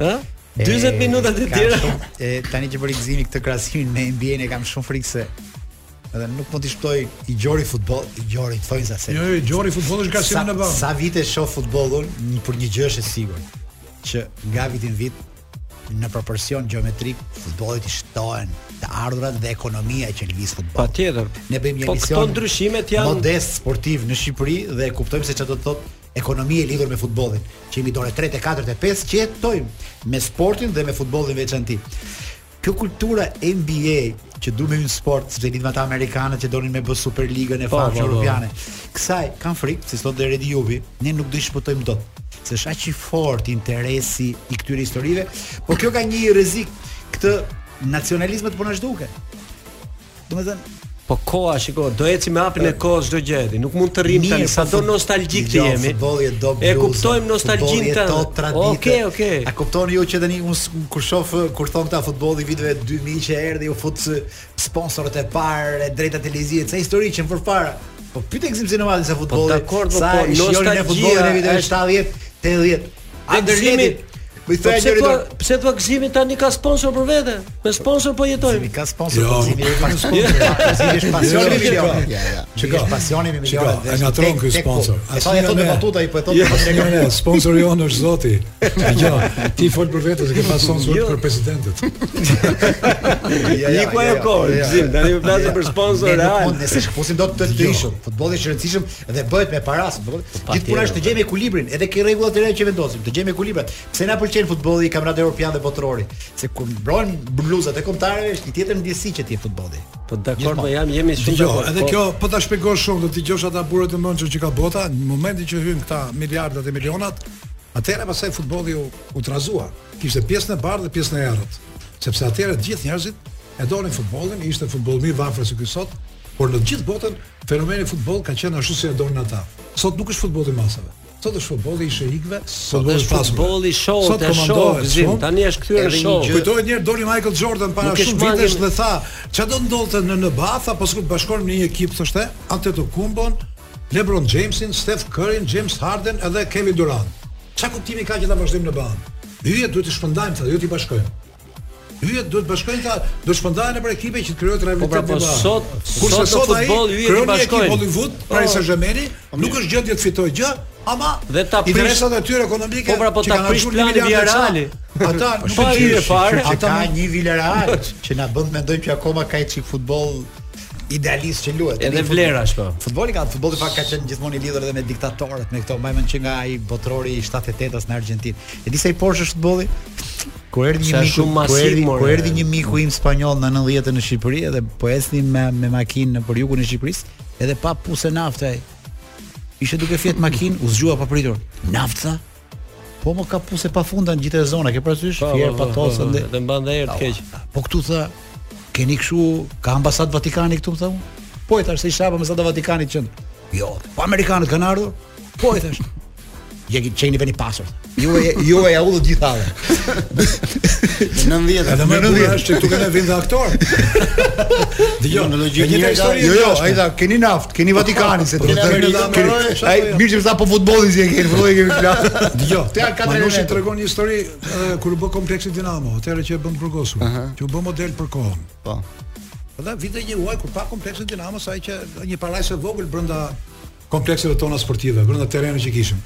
S4: Ë? 40 minuta të
S2: kam
S4: tjera.
S2: shumë- E tani që bëri gëzimin këtë krahasimin me NBA-n e kam shumë frikë se edhe nuk mund t'i shptoj i gjori futboll, i gjori thonjë sa se.
S3: Jo, jo, Gjori futbolli është ka
S2: sa,
S3: sinë në baj.
S2: sa vite shoh futbollun, një- për një gjë është e sigurt që nga viti në vit në proporcion gjeometrik futbollit i shtohen të ardhurat dhe ekonomia që lëviz futboll.
S4: Patjetër.
S2: Ne bëjmë një
S4: po
S2: emision.
S4: këto ndryshimet janë
S2: modest sportiv në Shqipëri dhe e kuptojmë se çfarë do të thotë ekonomia e lidhur me futbollin. Që jemi dorë 3 e 4 e 5 që jetojmë me sportin dhe me futbollin veçanti. Kjo kultura NBA që du me një sport, sepse lidhë me ata amerikanët që donin me bë Superligën e
S4: Po,
S2: famshme
S4: po, po.
S2: europiane. Kësaj kanë frikë, si sot dhe Redi Jubi, ne nuk do i shpëtojmë dot. Se është aq i fortë interesi i këtyre historive, por kjo ka një rrezik këtë nacionalizëm të punashduke. Domethënë,
S4: po koha, shiko, do eci me hapin e kohës çdo gjë. edi, Nuk mund të rrim
S2: Mirë,
S4: tani,
S2: po
S4: sado
S2: fut-
S4: nostalgjik të
S2: Jo,
S4: jemi.
S2: Futbolli e do
S4: E
S2: bluzën,
S4: kuptojmë nostalgjinë
S2: futbolli e
S4: tënde.
S2: do traditën.
S4: Okej, okej.
S2: A kuptoni ju që tani unë s- kur shoh kur thon këta futbolli viteve 2000 që erdhi u fut s- sponsorët e parë, e drejta televizive, ca histori që më përpara. Po pyet gzim sinemati sa futbolli.
S4: dakord, po,
S2: sa
S4: po,
S2: i shihoni ne
S4: nostalgjia
S2: futbollin e viteve
S4: është-
S2: 70, 80.
S4: Dhe gëzimi-
S2: Anderletit. Po i
S4: Po
S2: thua
S4: pse
S2: njëri
S4: thua,
S2: dorë.
S4: pse thua gëzimi tani ka sponsor për vete? Me sponsor po
S2: Mi
S4: jetojmë.
S2: ka sponsor
S3: Jo.
S2: pozimi,
S3: (laughs)
S2: pa sponsor. Pozimi është pasioni me
S3: Jo.
S2: milionë.
S1: Ja, ja.
S2: Çka është pasioni me milionë.
S3: Shiko, e ngatron ky sponsor.
S2: Ai thotë me batuta i po e thotë me
S3: Jo, jo, jo, sponsori on është Zoti. Dgjoj, ti fol për veten se ke pas sponsor
S4: Jo.
S3: për presidentet.
S4: Një ku ajo kohë, gëzim, tani më flasim për sponsor
S2: Ne nuk
S4: real. Jo.
S2: mund, ne se shkëpusim do të të ishëm. Futbolli është i rëndësishëm dhe bëhet me para, se futbolli- gjithë puna është të gjejmë ekuilibrin, edhe ke rregullat e reja që vendosim, të gjejmë ekuilibrat. Pse na pëlqen futbolli i kampionatit evropian dhe botëror? Se kur mbrojnë bluzat e kombëtarëve është një tjetër ndjesi që ti e futbolli.
S4: Po dakord,
S2: Gjithmonë.
S4: po jam jemi shumë
S3: Dgjoj,
S4: dakord.
S3: edhe
S4: po-
S3: kjo po ta shpjegosh shumë, do të dëgjosh ata burrat e mençur që ka bota, në momentin që hyn këta miliardat e milionat, atëherë pastaj futbolli u, u trazua. Kishte pjesën e bardhë dhe pjesën e errët. Sepse atëherë të gjithë njerëzit e donin futbollin, ishte futboll mirë vafër se ky sot, por në të gjithë botën fenomeni futboll ka qenë ashtu si e donin ata. Sot nuk është futbolli i masave. Sot është futbolli i sheikëve, futbolli i
S4: është
S3: pasurve.
S4: futbolli i show,
S3: Sot
S4: të show,
S3: komandohet
S4: gzim.
S3: shumë,
S4: Tani është kthyer
S1: Edhe një
S4: show.
S1: gjë-
S3: Kujtohet një herë doli Michael Jordan para
S4: Nuk e
S3: shumë
S4: shmanjim-
S3: vitesh dhe tha, ç'a do ndodhte në NBA, tha pas kur bashkonim në një ekip thoshte Antetokounmpon, LeBron Jamesin, Steph Curryn, James Harden edhe Kevin Durant. Ç'a kuptimi ka që ta vazhdojmë në ban? Hyje duhet të shpëndajmë, tha, jo t'i bashkojmë. hyjet do të bashkojnë ta, do të shpëndahen nëpër ekipe që të krijohet
S4: Po pra,
S3: rivalitet
S4: po
S3: bash.
S4: sot-
S3: kurse
S4: sot në
S3: sot ai
S4: futboll hyjet i
S3: krijon një ekip
S4: bashkojnë.
S3: Hollywood, Paris
S4: Po.
S3: Saint-Germain, nuk është gjendje të fitojë gjë, ama
S4: Dhe ta prish-
S3: interesat e tyre ekonomike.
S4: Po pra, po
S3: që
S4: ta
S3: kanë
S4: prish
S3: ashtu një
S4: planin
S3: miliard e sa,
S4: Villarreali.
S3: Ata
S4: (laughs)
S3: nuk
S4: Po,
S3: e
S4: ai e
S3: gjejnë
S4: fare.
S2: Që
S3: Ata
S2: ka
S3: mund-
S2: një
S4: (laughs)
S2: Villarreal që na bën të mendojmë që akoma ka çik futboll idealist që luhet.
S4: Edhe
S2: Tani futboll-
S4: vlerash po.
S2: Futbolli ka futbolli pak ka qenë gjithmonë i lidhur edhe me diktatorët, me këto majmën që nga ai botrori i 78-s në Argjentinë. E di sa i poshtë është futbolli? Kur erdhi një
S4: Sa
S2: miku,
S4: shumë
S2: kur
S4: masiv,
S2: erdhi,
S4: more.
S2: kur erdhi një miku im spanjoll në 90-të në Shqipëri edhe po ecnim me me makinë nëpër jugun e Shqipërisë, edhe pa puse nafte ai. Ishte duke fjet makinë, u zgjua pa pritur. Nafta? Po më ka puse pa funda në gjithë e zona, ke parasysh?
S4: Po,
S2: Fjer pa tosë ndë.
S4: Dhe mban dhe erë të keq. (laughs)
S2: Po këtu tha, keni kështu ka ambasadë Vatikani këtu më tha unë. Po i thash se isha pa ambasadë Vatikanit qend. Jo, po amerikanët kanë ardhur. Po i thash. Je ki çeni veni pasur. Ju e ju e ja udhë gjithave.
S1: 90
S3: Edhe më e bukur është që këtu kanë vënë dhe aktor. Dgjoj,
S1: Jo, në logjikë
S3: e njëjta
S1: njëra-
S3: histori e
S2: Jo, jo,
S3: gjashme.
S2: ai tha, keni naft, keni Vatikanin se do
S3: Po,
S2: të
S3: keni
S2: thënë.
S3: Amerikanë,
S2: keni-
S3: Amerikanë, shaka,
S2: Ai
S3: jo.
S2: mirë që më tha po futbollin si e keni, futbollin kemi flas.
S3: Dgjoj,
S2: Te ka katër
S3: Manushin
S2: elemente.
S3: tregon një histori e, kur u bë kompleksi Dinamo, atëherë që e bën të burgosur, që u bë model për kohën.
S1: Po.
S3: Edhe vite një uaj kur pa kompleksin Dinamo sa ai që një parajsë e vogël brenda komplekseve tona sportive, brenda terrenit që kishim.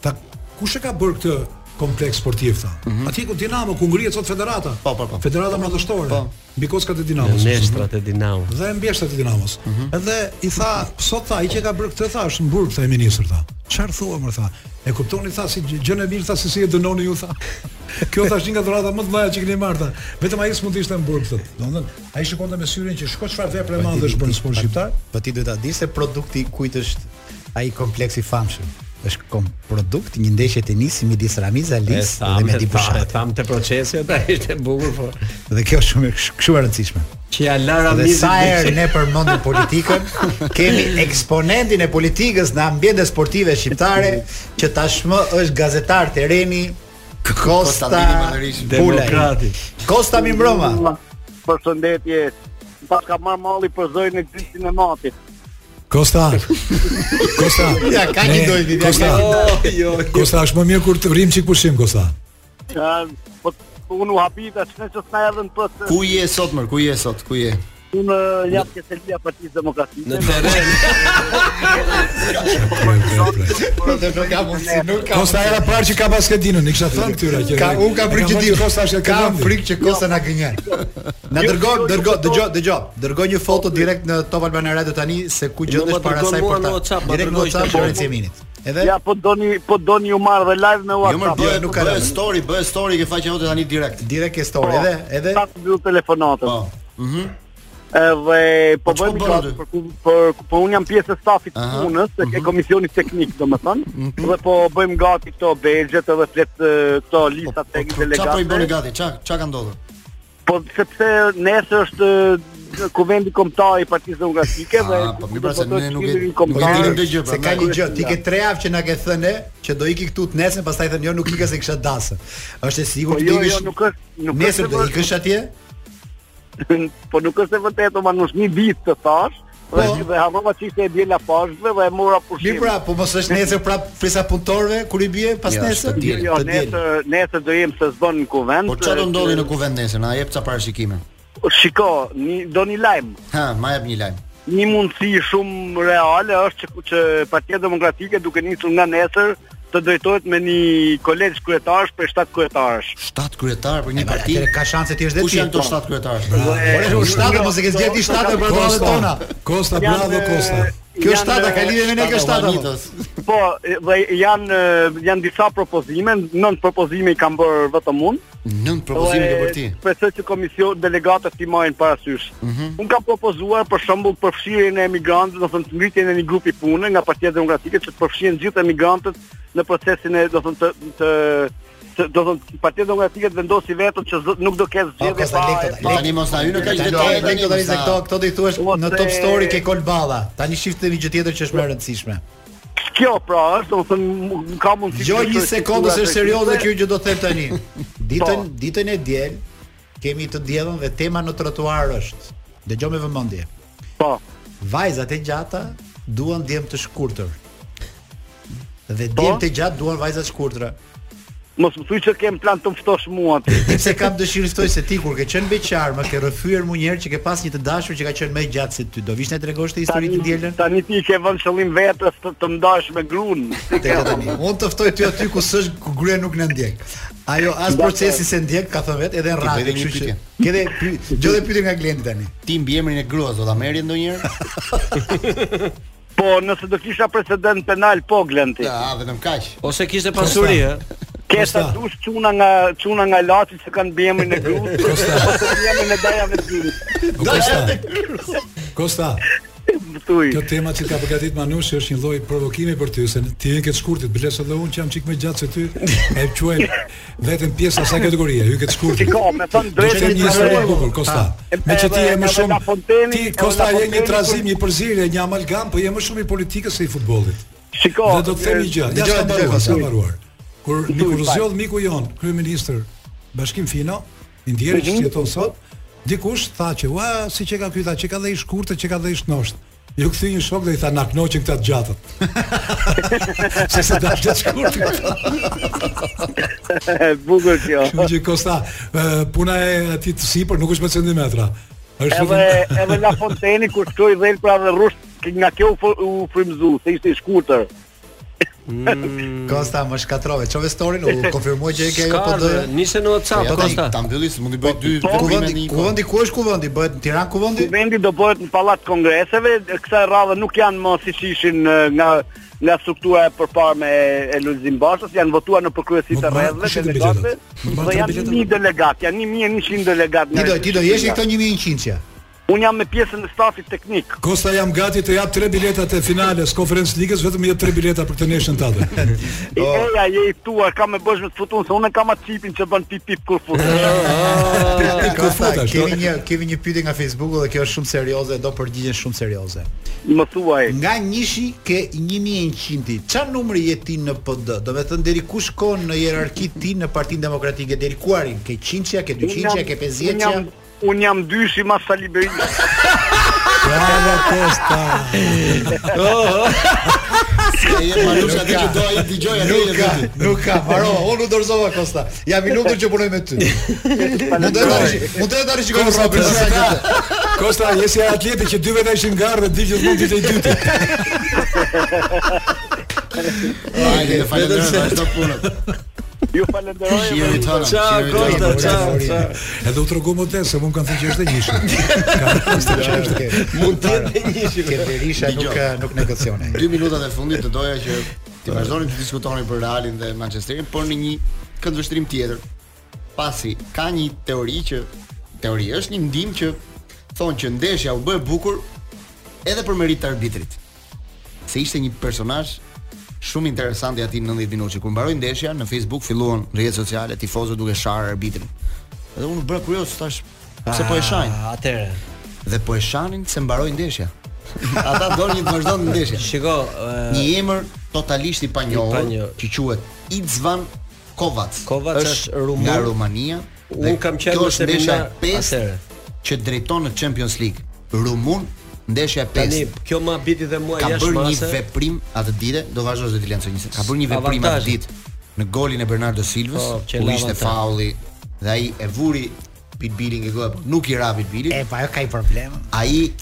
S3: Ta kush e ka bërë këtë kompleks sportiv tha? Atje ku Dinamo ku ngrihet sot Federata.
S1: Mhm. Po, po, po.
S3: Federata madhështore.
S1: Po.
S3: Mbi kockat e Dinamos.
S4: Neshtrat e Dinamo.
S3: dhe mbjeshtat e Dinamos. Edhe i tha, sot tha, i që ka bërë këtë tha, është në burg tha i ministër tha. Çfarë thua më tha? E kuptoni tha si gjë- gjën e mirë tha se si e dënoni ju tha. (laughs) Kjo tha është një nga dhurata më të mëdha që keni marrë tha. Vetëm ai s'mund të ishte në burg tha. Domethënë, ai shikonte me syrin që shko çfarë vepre e madhe është bërë në sport shqiptar.
S2: Po ti duhet ta di se produkti i kujt është ai kompleks i famshëm. Është kom produkt një ndeshje tenisi midis Ramiz Alis dhe Mehdi Bushatit.
S4: Tham të procesi ata ishte bukur po.
S2: Dhe kjo është shumë shumë e rëndësishme.
S4: Që ja lara
S2: Dhe
S4: mizin.
S2: sa herë ne përmendim politikën, kemi eksponentin e politikës në ambientet sportive shqiptare që tashmë është gazetar terreni Kosta
S1: Konstantini Manërishi.
S2: Pulaj.
S4: Demokrati.
S2: Kosta Mimbroma.
S5: Përshëndetje. Pas ka marr malli për zërin e gjithë sinematit.
S3: Kosta. Kosta.
S2: (laughs) Ja ka një
S3: Ne-
S2: dojtë, ja
S3: Kosta.
S2: ka një
S4: Jo, jo.
S3: Kosta është më mirë kur të rrim çik pushim Kosta.
S5: Ë, Po unë u habi tash ne që s'na erdhën për të
S1: Ku je sot mër? Ku je sot? Ku je?
S5: unë eh, jap keselia Partisë Demokratike.
S4: Në teren.
S2: Po, Dhe nuk ka mundësi, nuk ka.
S3: Kosta era parë që ka basketinën, i kisha thënë këtyra që.
S2: Ka un ka frikë që
S3: bërë
S2: ti
S3: Kosta është e
S2: ka
S3: këndon.
S2: frikë që Kosta na gënjen. Na
S5: Jo,
S2: dërgo,
S5: jo, jo,
S2: dërgo,
S5: jo,
S2: dëgjoj, dëgjoj. Dërgo një foto direkt në Top Albana Radio tani se ku gjendesh
S4: ma
S2: para
S4: dërgon
S2: saj
S4: mua
S2: për
S4: në
S2: ta.
S4: WhatsApp, ma
S2: Direkt në
S4: dërgoj
S2: WhatsApp
S4: që-
S2: Lorenzo Jeminit. Edhe
S5: Ja, po doni, po doni ju marr dhe live me
S1: Jo mër,
S5: WhatsApp. po,
S1: bëj,
S2: nuk
S1: nuk
S2: ka
S1: ka
S2: lënë.
S1: story, bëj story ke faqja jote tani direkt.
S2: direkt ke story edhe edhe
S5: sa po, të mbyll telefonatën.
S1: Po. Mhm.
S5: Edhe po
S1: Po,
S5: bëjmë
S1: çfarë
S5: gjatë
S1: bën
S5: për ku- për po unë jam pjesë e stafit të
S1: Aha. mhm.
S5: punës, e ke komisionit teknik, domethënë, dhe po bëjmë gati këto belgjet edhe flet e, këto
S1: Po,
S5: lista
S1: po,
S5: tek
S1: po, Çfarë po i bëni
S5: delegatëve.
S1: gati? Ç'a ç'a ka ndodhur?
S5: Po sepse nesër është e, kuvendi kombëtar i Partisë Demokratike dhe
S1: Ah, po mirë pra se ne nuk e
S5: Kuvendi
S1: nuk e
S5: kombëtar-
S1: dinim këtë gjë.
S2: se ka
S1: prandaj.
S2: një gjë, pra, ti ke 3 javë që na ke thënë që do iki këtu të nesër, pastaj thënë jo nuk ika se kisha dasë. Është e
S5: Po
S2: sigurt që
S5: jo,
S2: do
S5: jo,
S2: ikish
S5: nuk është, nuk
S2: nesër do
S5: është e
S2: ikësh atje?
S5: vërtet- (laughs) po nuk është e vërtetë, ma nuk një ditë të thash, dhe
S2: Po.
S5: dhe harrova që ishte e dje la pashkëve dhe e mora pushim.
S2: Mirë pra, po mos është nesër prap frisa punëtorëve kur i bie pas
S1: Jo,
S2: nesër?
S1: s'të
S5: Jo,
S1: diel,
S5: jo,
S2: Të diel.
S5: nesër, nesër do jem se s'bën në kuvent.
S1: Po ç'a do
S5: e,
S1: ndodhi në kuvent nesër? Na jep ca parashikime.
S5: Po, Shiko, një, do një lajm.
S1: Ha, ma jep një lajm.
S5: Një mundësi shumë reale është që, që Partia Demokratike duke nisur nga nesër të drejtohet me një kolegj kryetarësh për 7 kryetarësh.
S1: 7 kryetar për një parti.
S2: Atëherë ka shanse ti është
S1: Kush
S2: dhe
S1: janë
S2: ti.
S1: këto 7 kryetarë?
S2: Ore, u shtatë, mos e ke zgjedhë ti shtatë për ato tona.
S3: Kosta,
S5: Janë, eh,
S3: bravo
S5: (laughs)
S3: Kosta.
S2: Kjo
S5: janë,
S2: shtata ka lidhje me ne kjo shtata. mo.
S1: Juanitos.
S5: Po, dhe janë eh, janë disa propozime, nën propozime i kam bërë vetëm unë.
S1: Nën propozime
S5: Dhe
S1: ke për ti.
S5: Po, Shpresoj që komision delegatët ti marrin parasysh.
S1: Mhm.
S5: Unë kam propozuar për shembull përfshirjen e emigrantëve, do thënë të ngritjen e një grupi pune nga Partia Demokratike që të përfshihen gjithë emigrantët në procesin e do thënë të të të- do thënë Partia Demokratike të vendosi vetëm që zë- nuk do ketë zgjedhje
S2: Kosta, lek këta,
S1: Po
S2: lek.
S1: tani mos na hynë në kaq
S2: Tani
S1: detaje
S2: tani
S1: tani
S2: këto tani se këto këto do i thuash
S5: Ose-
S2: në top story ke kol balla. Tani shifte një gjë tjetër që është më e rëndësishme.
S5: Kjo pra është, do thënë mu- ka mundësi.
S1: Jo,
S2: Dgjoj
S5: që-
S2: një
S5: që-
S2: sekondë se është serioze
S5: që-
S2: kjo që do të them tani. Ditën
S5: Po.
S2: ditën e diel kemi të diellën dhe tema në trotuar është. Dëgjoj me vëmendje.
S5: Po.
S2: Vajzat e gjata Po. duan djem të shkurtër. Dhe djem të gjatë duan vajzat shkurtra.
S5: Mos më thuj që kem plan të më ftosh mua aty.
S6: Sepse kam dëshirë stoj (laughs) se ti kur ke qenë beqar, më ke rrëfyer më herë që ke pas një të dashur që ka qenë më i gjatë se ty. Do vish na tregosh të historinë të dielën?
S5: Tani ti ke vënë qëllim vetës të, të ndash me grun.
S6: Tek tani. Unë të ftoj ty aty ku s'është ku gruaja nuk na ndjek. Ajo as procesi se ndjek, ka thënë vetë, edhe në
S1: Ti bëj
S6: radio,
S1: edhe një
S6: kështu që.
S1: pyetje.
S6: Ke edhe pyetje, gjë dhe pyetje nga Glendi tani.
S1: Ti mbi emrin e gruas do ta merri
S5: (laughs)
S1: ndonjëherë?
S5: Po, nëse do kisha precedent penal, po glen ti.
S1: Ja, vetëm kaq.
S5: Po,
S4: Ose kishte pasuri, ë?
S5: Kesa dush çuna nga çuna nga laçi që kanë bë
S3: (laughs)
S5: emrin e gruas, ose bë emrin e dajave të gruas.
S3: Kosta. Kosta,
S5: Më (laughs) Thuj.
S3: kjo tema që ka përgatit Manushi është një lloj provokimi për ty, se ti je këtë shkurtit, biles edhe unë që jam çik më gjatë se ty, e quaj vetëm pjesë asaj kategorie, hy këtë shkurtit.
S5: Shiko, me thënë drejtë,
S3: Është një histori e
S5: drejtë.
S3: bukur, Kosta.
S5: Ah.
S3: Me që ti je më
S5: Edhe
S3: shumë
S5: La Fontaine-
S3: ti
S5: edhe
S3: Kosta
S5: La
S3: je një
S5: Fontaine-
S3: trazim, një përzierje, një amalgam, po je më shumë i politikës se i futbollit.
S5: Shiko.
S3: Po, Dhe do të them një
S5: (laughs)
S3: gjë, ja
S6: dëgjoj,
S3: s'ka mbaruar,
S6: dëgjoj,
S3: s'ka mbaruar. Kur Niku
S5: pak.
S3: Ruzjoll, miku jon, kryeministër Bashkim Fino, i ndjeri që jeton sot, dikush tha që ua, si që ka ky tha, që ka dhe i shkurtë, që ka dhe i shnosht. Ju kthy një shok dhe i tha na knoqin këta të gjatët. (laughs) Se se dash të shkurt.
S5: Bukur kjo.
S3: Kështu që Kosta, ë, puna e atij të sipër nuk është me centimetra. Është
S5: Edhe edhe La Fontaine kur shkoi dhël pra dhe rusht nga kjo u, fo- u frymzu, se ishte i shkurtër.
S6: Kosta më shkatrove. Çove storin, u konfirmoj që e ke ajo po do.
S4: Skardë, nisi në WhatsApp,
S1: Ja, ta,
S4: Kosta.
S1: ta mbylli, se mund të bëj dy kuptime
S5: po,
S1: në
S6: Kuvendi,
S1: një kohë.
S6: kuvendi ku është kuvendi? Bëhet në Tiranë kuvendi?
S5: Vendi do bëhet në Pallat Kongreseve, kësaj radhe nuk janë më siç ishin eh, nga nga struktura e përparme e, e Lulzim Bashës, janë votuar në përkryesitë
S3: Nuk
S5: e
S3: marrë-
S5: rrezëve,
S3: kush i të
S5: delegatëve,
S3: biletat? Nuk marrë
S5: dhe
S3: të
S5: janë
S3: biletat?
S5: 1000 delegat, janë 1100 delegat.
S6: Ti
S5: nga
S6: do ti do jesh i këto 1100-ja.
S5: Unë jam me pjesën e stafit teknik.
S3: Kosta jam gati të jap 3 biletat e finales Conference Ligës, vetëm jep 3 bileta për këtë nesër (laughs) tjetër.
S5: I eja je i tuar, ka me bësh me të futun, se unë e kam atë qipin që bën pip pip kur
S6: (laughs)
S5: futun.
S1: Ah.
S3: Ku futesh?
S6: Kemi një kemi një pyetje nga Facebooku dhe kjo është shumë serioze, do përgjigjen shumë serioze.
S5: Më thuaj.
S6: Nga njëshi ke 1100-ti. Çfarë numri je ti në PD? Do të thënë deri ku shkon në hierarki ti në Partinë Demokratike deri ku arrin? Ke 100-ja, ke 200-ja, ke 50-ja?
S5: Unë jam dyshi mas Saliberi.
S6: (laughs)
S3: Bravo Kosta.
S5: po,
S1: Ja, je Manush aty që do ai të dëgjoj atë
S6: Nuk ka, nuk ka. Haro, unë u dorëzova Kosta. Jam i lumtur që punoj me ty. Mund të tani, mund të tani shikoj sa bëj.
S3: Kosta, je si atleti që dy veta ishin garë dhe dy gjithmonë ditë e dytë.
S1: Hajde, të falenderoj, vazhdo punën.
S5: Ju falenderoj.
S1: Shihemi të hënën.
S4: Ciao,
S1: shihemi të hënën.
S4: Kosta, ciao, ciao.
S3: Edhe u tregu më tepër se mund kanë thënë që është e gjishme.
S6: Mund të jetë njëshi. Ke Berisha nuk
S1: Dgjoj.
S6: nuk negocione.
S1: Dy minutat e fundit të doja që ti vazhdonim të diskutoni për Realin dhe Manchesterin, por në një këndvështrim tjetër. Pasi ka një teori që teori është një ndim që thonë që ndeshja u bë e bukur edhe për merit të arbitrit. Se ishte një personazh shumë interesant i atij 90 minutë. Kur mbaroi ndeshja në Facebook filluan rrjetet sociale tifozët duke sharë arbitrin. Edhe unë bëra kurioz tash pse po e shajnë
S4: Atëre.
S1: dhe po e shanin se mbaroi ndeshja. Ata donin të vazhdon ndeshja.
S4: Shiko, ë,
S1: Një emër totalisht i panjohur
S4: I panjohur.
S1: që quhet Itzvan Kovac.
S4: Kovac është rumun.
S1: nga Rumania. dhe
S4: Unë kam qenë
S1: kjo
S4: në
S1: është ndeshja
S4: seminar
S1: e pestë
S4: atëherë.
S1: që drejton në Champions League. Rumun ndeshja e
S4: tani
S1: pestë.
S4: kjo më biti dhe mua
S1: Ka
S4: jashtë
S1: bërë një
S4: masë.
S1: veprim atë ditë, do vazhdosh të lënë njëse. Ka bërë një veprim atë
S4: Avantazhe.
S1: ditë në golin e Bernardo Silvës,
S4: Po, që
S1: ku
S4: la
S1: ishte
S4: avantazhe.
S1: faulli dhe ai e vuri Pitbillin nga goja, por nuk i ra Pitbillin.
S6: E, pa ajo ka i problem.
S1: Ai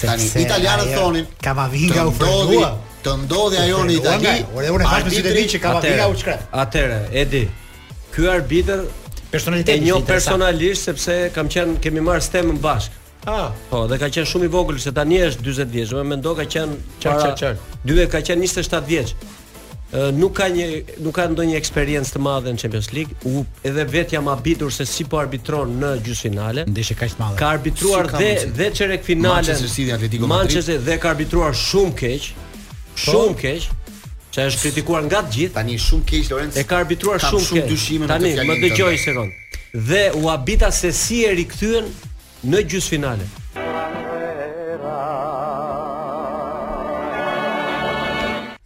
S1: tani
S6: Sepse
S1: italianët
S6: ajo
S1: thonin
S6: Kamavinga
S1: të
S6: u
S1: ndodhi-
S6: frenua."
S1: Të ndodhi ajo në
S6: Ua,
S1: Itali.
S6: nga, Ore, unë e hash me sytë e di që ka
S4: Atëre,
S6: vapiga u shkret.
S4: Atëre, Edi. Ky arbitër e
S6: Personaliteti
S4: njoh
S6: është interesant.
S4: personalisht sepse kam qenë kemi marrë stemën bashkë.
S6: Ah,
S4: Po, dhe ka qenë shumë i vogël se tani është 40 vjeç, më mendo ka qenë
S6: Qartë,
S4: para
S6: qartë, qartë.
S4: dyve ka qenë 27 vjeç. Ë, Nuk ka një nuk ka ndonjë eksperiencë të madhe në Champions League. U edhe vet jam habitur se si po arbitron në gjysmëfinale.
S6: ndeshje kaq të madhe.
S4: Ka arbitruar
S1: Si ka
S4: dhe
S1: mundsi?
S4: dhe çerek finalen.
S1: Manchester City, Atletico Madrid. Po.
S4: Manchester dhe ka arbitruar shumë keq. Shumë keq. Që është kritikuar nga të gjithë.
S1: Tani shumë keq Lorenz.
S4: E ka arbitruar
S1: Kam
S4: shumë
S1: shumë
S4: keq.
S1: dyshime në
S4: Tani,
S1: këtë
S4: më
S1: fjalë.
S4: dëgjoj një sekond. Dhe u habita se si e rikthyen në gjysmëfinale.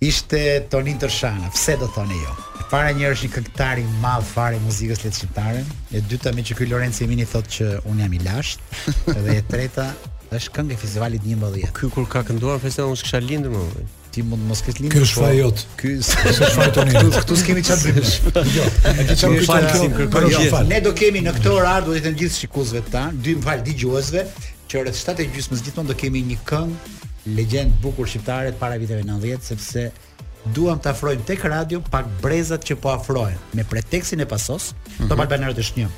S6: Ishte Tonin Tërshana, pse do thoni jo? E Para një është një këngëtar i madh fare i muzikës letë shqiptare, e dyta me që ky Lorenzo Emini thotë që unë jam i lashtë, dhe e treta është këngë e festivalit 11.
S4: Ky kur ka kënduar festivallin unë s'kisha lindur më. vëllai.
S2: ti mund mos ketë lindur.
S3: Ky është faji jot.
S2: Ky
S3: Ky është faji tonë.
S2: Këtu- këtu s'kemi çfarë bëjmë. Jo. E di çfarë
S3: Mirë,
S2: kujton
S3: falë,
S2: kjo?
S3: sim, kërkoj
S2: Po, jo,
S3: gjithë.
S2: falë. Ne do kemi në këtë orar, duhet të them gjithë shikuesve tan, dy më fal dëgjuesve, që rreth 7 e gjysmës gjithmonë do kemi një këngë legjend bukur shqiptare të para viteve 90 sepse duam të afrojmë tek radio pak brezat që po afrohen me preteksin e pasos, Top Albanerët është një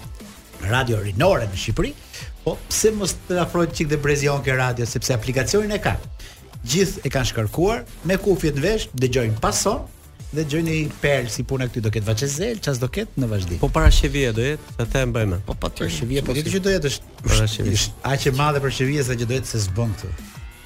S2: radio rinore në Shqipëri, po pse mos të afrohet çik dhe brezi on ke radio sepse aplikacionin e ka. Gjithë e kanë shkarkuar me kufjet në vesh, dëgjojnë pason dhe dëgjojnë një perl si puna këty do ketë vaçezel, ças do ketë në vazhdim.
S4: Po para shevije do jetë, sa them bëjmë.
S1: Po
S2: Për
S1: patjetër.
S2: shëvije, po këtë që do jetë është
S4: Për
S2: është-
S4: shëvije.
S2: është aq e madhe për shëvije sa që do jetë se s'bën këtu.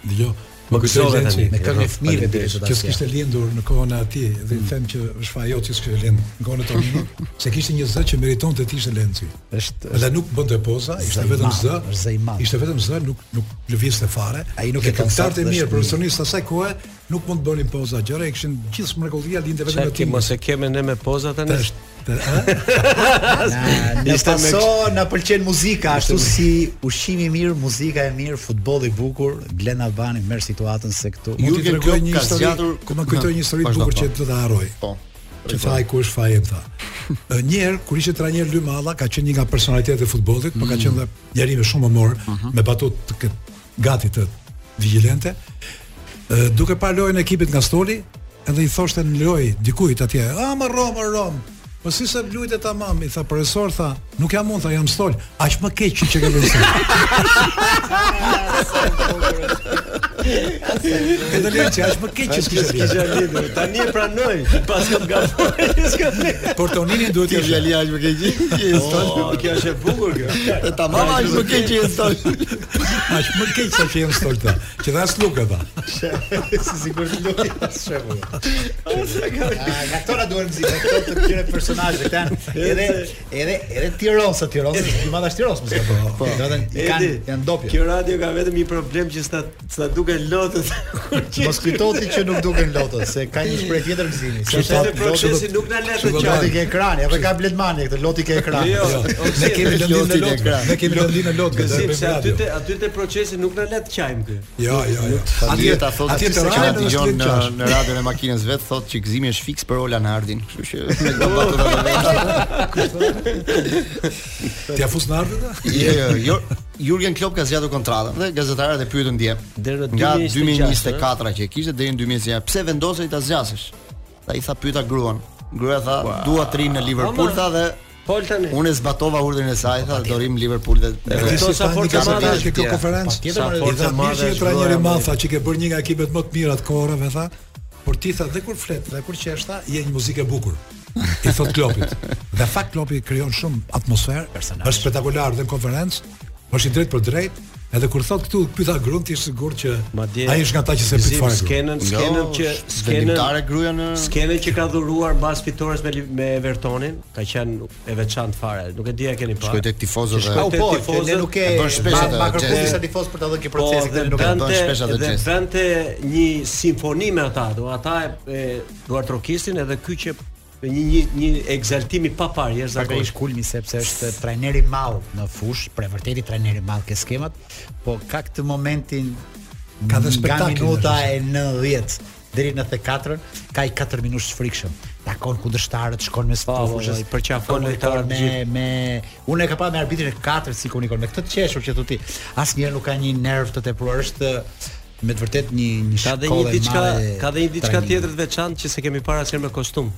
S3: Dgjoj.
S4: Më kujtove
S3: Lenci,
S4: tani.
S2: Me këngë e
S4: Jo,
S2: fëmijëve
S4: faleminderit.
S2: do të
S3: që s'kishte lindur në kohën e atij dhe
S2: Mm.
S3: i them që është faji jot që s'kishte lindur në kohën e Toninit, se kishte një zë që meritonte të ishte Lenci.
S2: Është
S3: Dhe nuk bënte poza, ishte
S2: Zë i
S3: vetëm
S2: madh,
S3: zë.
S2: është zë i madh.
S3: Ishte vetëm zë, nuk nuk lëvizte fare.
S2: Ai nuk e ka
S3: këngëtarët
S2: saktë,
S3: e mirë,
S2: është
S3: profesionistë asaj kohe nuk mund të bënin poza gjëra, e kishin gjithë mrekullia lindte vetëm
S4: Çfarë
S3: me
S4: ke
S3: tim.
S4: mos e kemi ne me poza tani?
S3: Tash, të- ë?
S2: Na- Na
S4: (laughs) Ishte me
S2: paso, na pëlqen muzika ashtu si ushqimi i mirë, muzika e mirë, futbolli i bukur, Glen Albani merr situatën se këtu.
S3: Mund
S1: Jurgen
S3: t'i tregoj
S1: Klopp
S3: një
S1: ka
S3: histori,
S1: zgjatur-
S3: ku më kujtoj një histori të
S1: Vazhdo,
S3: bukur që
S1: po.
S3: do ta harroj.
S1: Po.
S3: Që tha ai ku është faji im (laughs) tha. Ë, Një herë kur ishte trajner Lymalla ka qenë një nga personalitetet e futbollit, por ka qenë dhe njeri me shumë humor, me batut të kët, gati të vigjilente. Ë, duke pa lojën e ekipit nga Stoli, edhe i thoshte në lojë dikujt atje, "A më Rom, më Rom." Po si se luajte tamam, i tha profesor tha, nuk jam unë tha, jam Stol. Aq më keq që që ke vënë. (laughs) Stol." Edhe lirë që aq më keq që s'kishte lirë.
S4: lidhur. Tani e pranoj. Pas kam gafuar, s'kam lidhur.
S3: Por Tonini duhet
S1: Ti
S3: të
S1: jali as më ke (laughs) gjithë.
S4: Po, kjo është e bukur kjo.
S1: E tamam as më ke gjithë sot.
S3: Aq më keq sa që jam stolt tha. Që dha sluka tha.
S2: si sigurt lojë shefu. Nga këto na duhen muzikë, nga këto të këtyre personazheve këta janë edhe edhe edhe Tiranës, Tiranës, Gjumata është Tiranës, mos gapo. Do të thënë kanë
S4: Edi,
S2: janë dopje.
S4: Kjo radio ka vetëm një problem që s'ta s'ta duken lotët. kur
S2: (laughs)
S4: që-
S2: Mos kujtoti që nuk duken lotët, se ka një shpreh tjetër gëzimi.
S4: Që thotë procesi nuk na le të
S2: Loti
S4: qartë.
S2: ke ekrani, apo ka bletmani këtë loti ke ekrani.
S4: Jo,
S3: Ne kemi
S1: Lotin
S3: lëndin
S1: e
S3: e lotë.
S1: ekran.
S3: Ne kemi lëndin e lotë.
S4: Gëzim se aty te aty te procesi nuk na le të qajm kë.
S3: Jo, jo, jo.
S1: Atje ta thotë
S3: atje
S1: atje
S3: të
S1: se që na
S3: rajnë dhe
S1: dëgjon
S3: shtetë
S1: në
S3: qash.
S1: në radion e makinës vet thotë që gëzimi është fiks për Ola Nardin, kështu që me këto batuta të vetë.
S3: Ti afus në ardhë ta?
S1: Jo, jo, jo. Jurgen Klopp ka zgjatur kontratën dhe gazetarët e pyetën dje.
S4: Deri në
S1: Nga
S4: 2026,
S1: 2024 që e kishte deri në 2026, pse vendose i ta zgjasësh? Tha i tha pyeta gruan. Gruaja tha, dua të ri në Liverpool
S4: Ama- Po-
S1: tha dhe
S4: Pol tani.
S1: unë e zbatova urdhrin e saj, tha do rim Liverpool dhe
S3: Ti
S1: dhe-
S4: Këto
S3: si
S4: sa
S3: sa
S4: forca
S3: forca
S1: madhe
S3: madhe
S1: është
S3: që kjo
S4: tje.
S3: konferencë.
S4: Pa tjetër,
S3: I
S4: forca
S3: tha mirë
S4: madhe
S3: që
S4: është
S3: trajneri
S4: Lola
S3: i madh
S4: Meri.
S3: tha që ke bërë një nga ekipet më të mira të kohërave tha. Por ti tha dhe kur flet dhe kur qesh tha, je një muzikë e bukur. I thot Klopit. Dhe fakt Klopi krijon shumë atmosferë, është spektakolar dhe në konferencë, është i drejtë për drejtë. Edhe kur thot këtu pyeta gruan ti është sigurt që
S4: Madje
S3: ai është nga ata që se
S4: gëzim,
S3: prit fare. gruan.
S4: Skenën, skenën
S1: Jo,
S4: që skenën
S1: vendimtare gruaja në-
S4: skenën që ka dhuruar mbas fitores me Liv- me Evertonin, ka qenë e veçantë fare. Nuk e di a keni parë.
S1: Shkoj tek tifozët
S4: Që
S1: dhe-
S2: Au
S4: shkoj tek
S2: po, që
S4: tifozët.
S2: ne nuk e
S1: E bën shpesh atë
S2: Makrofoni
S1: gest.
S2: sa tifoz për ta dhënë ke
S4: Po,
S2: procesin
S4: dhe
S2: dhe nuk e
S1: bën
S4: bante,
S1: shpesh atë
S4: dhe
S1: gjest.
S4: bante një simfoni me ata, do ata e, e duartrokistin edhe ky që një një një egzaltim i papar
S2: Zakonisht
S4: jashtëzakonisht.
S2: Pra kulmi sepse është trajner i madh në fush, për e vërtetë trajner i madh ke skemat, po ka këtë momentin
S3: Ka dhe
S2: nga
S3: spektaklin,
S2: minuta
S3: është.
S2: e 90 deri në 94 ka i 4 minutë të frikshëm. Takon kundërshtarët, shkon mes
S4: Po,
S2: fushës,
S4: vallai, përqafon
S2: komunikon
S4: lojtarët
S2: me
S4: gjithë.
S2: me unë e ka pa me arbitrin e 4 si komunikon me këtë të qeshur që thotë ti. Asnjëherë nuk ka një nerv të tepruar, është me të vërtet një një
S4: Ka dhe një
S2: shkollë e
S4: diçka,
S2: madhe
S4: ka dhe një diçka
S2: trajnimi.
S4: tjetër të veçantë që se kemi parë asnjëherë me kostum.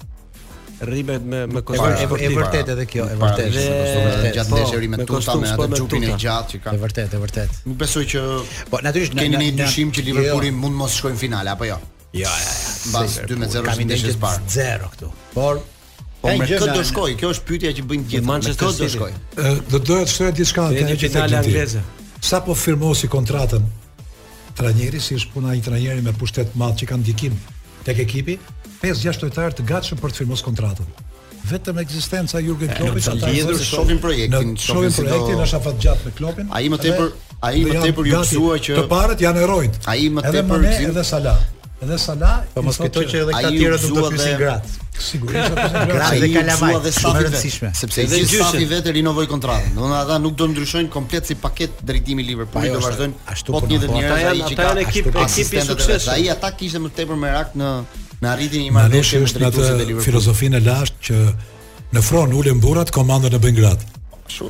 S4: Rrimet me me
S2: E
S4: kostum.
S2: vër- e vër- e
S4: sportiv.
S2: vërtet edhe kjo, e
S1: Para
S2: vërtet.
S1: ishte
S4: Dhe-
S1: kostum edhe
S2: vërtet.
S1: gjatë
S4: po,
S1: ndeshjeve me
S4: me
S1: tuta
S4: kostum,
S1: me
S4: po,
S1: atë
S4: me
S1: xhupin e
S4: tuta.
S1: gjatë që ka.
S2: E vërtet, e vërtet.
S1: Nuk besoj që
S2: Po natyrisht
S1: keni një dyshim që Liverpooli
S2: jo.
S1: mund mos shkojë në finale apo jo.
S2: Jo, jo, jo.
S1: Mbas 2-0
S2: Kam
S1: në ndeshjes
S2: që
S1: parë.
S2: zero këtu. Por
S1: Po
S2: ka një
S1: me
S2: gjë
S1: këtë
S2: nga-
S1: do shkoj, kjo është pyetja që bëjnë të gjithë. Me
S4: Manchester
S1: këtë do
S4: City.
S1: shkoj.
S3: Ë, do doja të shtoja diçka
S4: Dhe një
S3: atë
S4: finale
S3: Genti.
S4: angleze.
S3: Sa po firmosi kontratën trajneri, si është puna e një trajneri me pushtet të madh që ka ndikim tek ekipi, 5-6 lojtarë të gatshëm për të firmos kontratën. Vetëm ekzistenca e Jurgen Kloppit
S1: të
S3: ata
S1: lidhur,
S3: thonë se-
S1: shohin projektin,
S3: në-
S1: shohin
S3: shohin
S1: si do-
S3: projektin, është afat gjatë me Kloppin.
S1: Ai më
S3: edhe-
S1: tepër- ai
S3: dhe
S1: më
S3: janë
S1: tepër ju
S3: gati.
S1: mësua që-
S3: të parët janë erojt.
S1: Ai më
S3: edhe
S1: tepër
S3: Mane
S1: gzim-
S3: edhe Salah. Edhe Salah,
S2: po mos
S3: i thotë
S2: kujtoj që edhe
S1: Ai
S2: këta
S1: u
S2: tjerë nuk do
S1: gëzua
S2: të pyesin
S1: dhe-
S2: gratë.
S3: Sigurisht apo
S2: Gra-
S3: gra.
S2: Ai
S1: Ai
S2: dhe
S1: i
S2: Kalavaj,
S1: mësua dhe
S2: shumë
S1: stafi
S2: e
S1: vet,
S2: rëndësishme.
S1: Sepse
S4: Edhe
S1: i gjithë
S4: gjyshin.
S1: stafi vetë rinovoi kontratën. Do të thonë ata nuk do ndryshojnë komplet si paketë drejtimi Liverpoolit do
S2: Ajo është,
S1: vazhdojnë
S2: ashtu
S1: po
S2: punon.
S1: të njëjtët
S2: Po, ata
S1: njerëz ai
S4: janë-
S1: që
S4: ata
S1: ka
S4: janë ekip-
S1: ashtu
S4: ekip i
S1: asistentët e vet.
S4: suksesshëm.
S1: Ai ata kishte më tepër merak në në arritjen e një
S3: Maneshi
S1: marrëveshje me
S3: është në
S1: drejtuesin e
S3: atë
S1: Liverpoolit.
S3: filozofinë e lashtë që në fron ulen burrat, komandën e bëjnë gratë.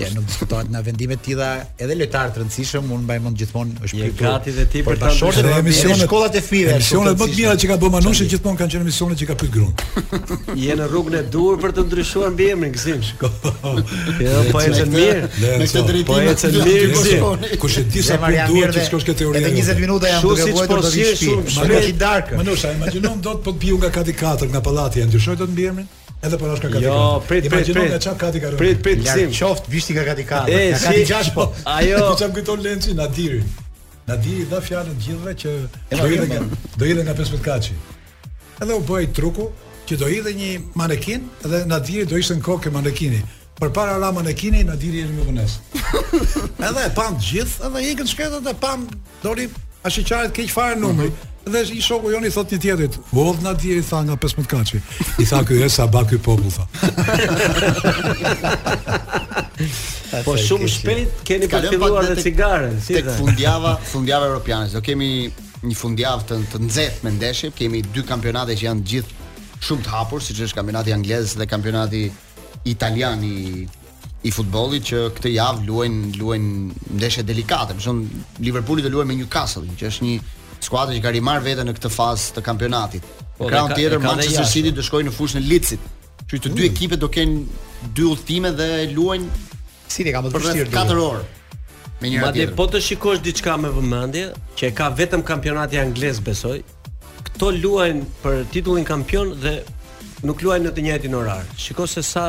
S2: Ja, nuk diskutohet nga vendime të tilla, edhe lojtarë të rëndësishëm, unë mbaj mend gjithmonë është
S4: Je gati dhe ti për ta
S2: bashortë
S4: ndryshuar
S2: dhe emisionet shkollat e fëmijëve. është shumë
S3: Emisionet më të mira që ka bërë Manushi gjithmonë kanë qenë emisionet që ka pyet gruan.
S2: (laughs)
S4: Je në rrugën e dur për të ndryshuar mbi emrin Gzim. Jo, po
S1: Me
S4: ecën
S1: këtë-
S4: mirë.
S3: Le,
S1: Me këtë
S3: so,
S1: drejtim.
S4: po ecën mirë, Gzim.
S3: Kush e di sa
S2: Zemra
S3: punë
S2: jam mirë
S3: duhet që
S2: dhe-
S3: shkosh këtë teori.
S2: Edhe 20 minuta jam
S4: Kështu
S2: duke
S4: siç
S2: vuajtur
S4: po
S2: do vi
S4: sjell
S2: shtëpi.
S4: shumë
S2: Shumë
S4: shpejt.
S2: i darkë.
S3: Manusha, imagjinon do të po të piu nga kati 4 nga pallati, e ndryshoj do të mbi emrin? Edhe po rash nga kati 4.
S4: Jo, prit, prit,
S3: Imagjinon nga
S4: prit.
S3: çfarë kati ka rënë.
S4: Prit, prit
S2: Larg
S4: Gzim.
S2: qoftë bishti ka gati katër.
S4: E,
S2: Ka
S4: si-
S2: gati gjashtë po.
S4: (laughs)
S2: (laughs)
S4: Ajo-
S3: Do çam kujton Lenci Nadirin. Nadiri dha fjalën të gjithëve që do
S2: Nadiri,
S3: hidhe nga
S2: po.
S3: do hidhe nga 15 kaçi. Edhe u bëi truku që do hidhe një manekin dhe Nadiri do ishte në kokë e manekini. Përpara ra manekini, Nadiri ishte më vonesë. Edhe e pam të gjithë, edhe ikën shkretët e pam doli ashiqaret keq fare numri. Dhe i shoku jon i thot një tjetrit, "Vodh na diri tha nga 15 kaçi." I tha ky është sa ba ky popull tha.
S4: Po shumë shpejt keni për
S1: Kalojmë pak
S4: filluar
S1: dhe
S4: dhe
S1: tek-
S4: cigaren, si
S1: Tek
S4: dhe.
S1: fundjava, fundjava europiane. Do kemi një fundjavë të, të nxehtë me ndeshje, kemi dy kampionate që janë gjithë shumë të hapur, siç është kampionati anglez dhe kampionati italian i i futbollit që këtë javë luajnë luajnë ndeshje delikate. Për shembull, Liverpooli do luajë me Newcastle, që është një skuadër që ka rimar veten në këtë fazë të kampionatit.
S4: Po,
S1: Po,
S4: dhe
S1: Kraun
S4: ka-
S1: tjetër
S4: dhe ka dhe
S1: Manchester
S4: jashtë. Mm.
S1: City do shkojë në fushën e Leedsit. Kështu që të dy ekipet do kenë dy udhëtime dhe luajnë
S2: Cili ka më të
S1: për
S2: vështirë.
S1: rreth
S2: duhet.
S1: 4 orë. Me njëra
S4: Madje
S1: tjetrën.
S4: po të shikosh diçka me vëmendje, që e ka vetëm kampionati anglez besoj. Këto luajnë për titullin kampion dhe nuk luajnë në të njëjtin orar. Shiko se sa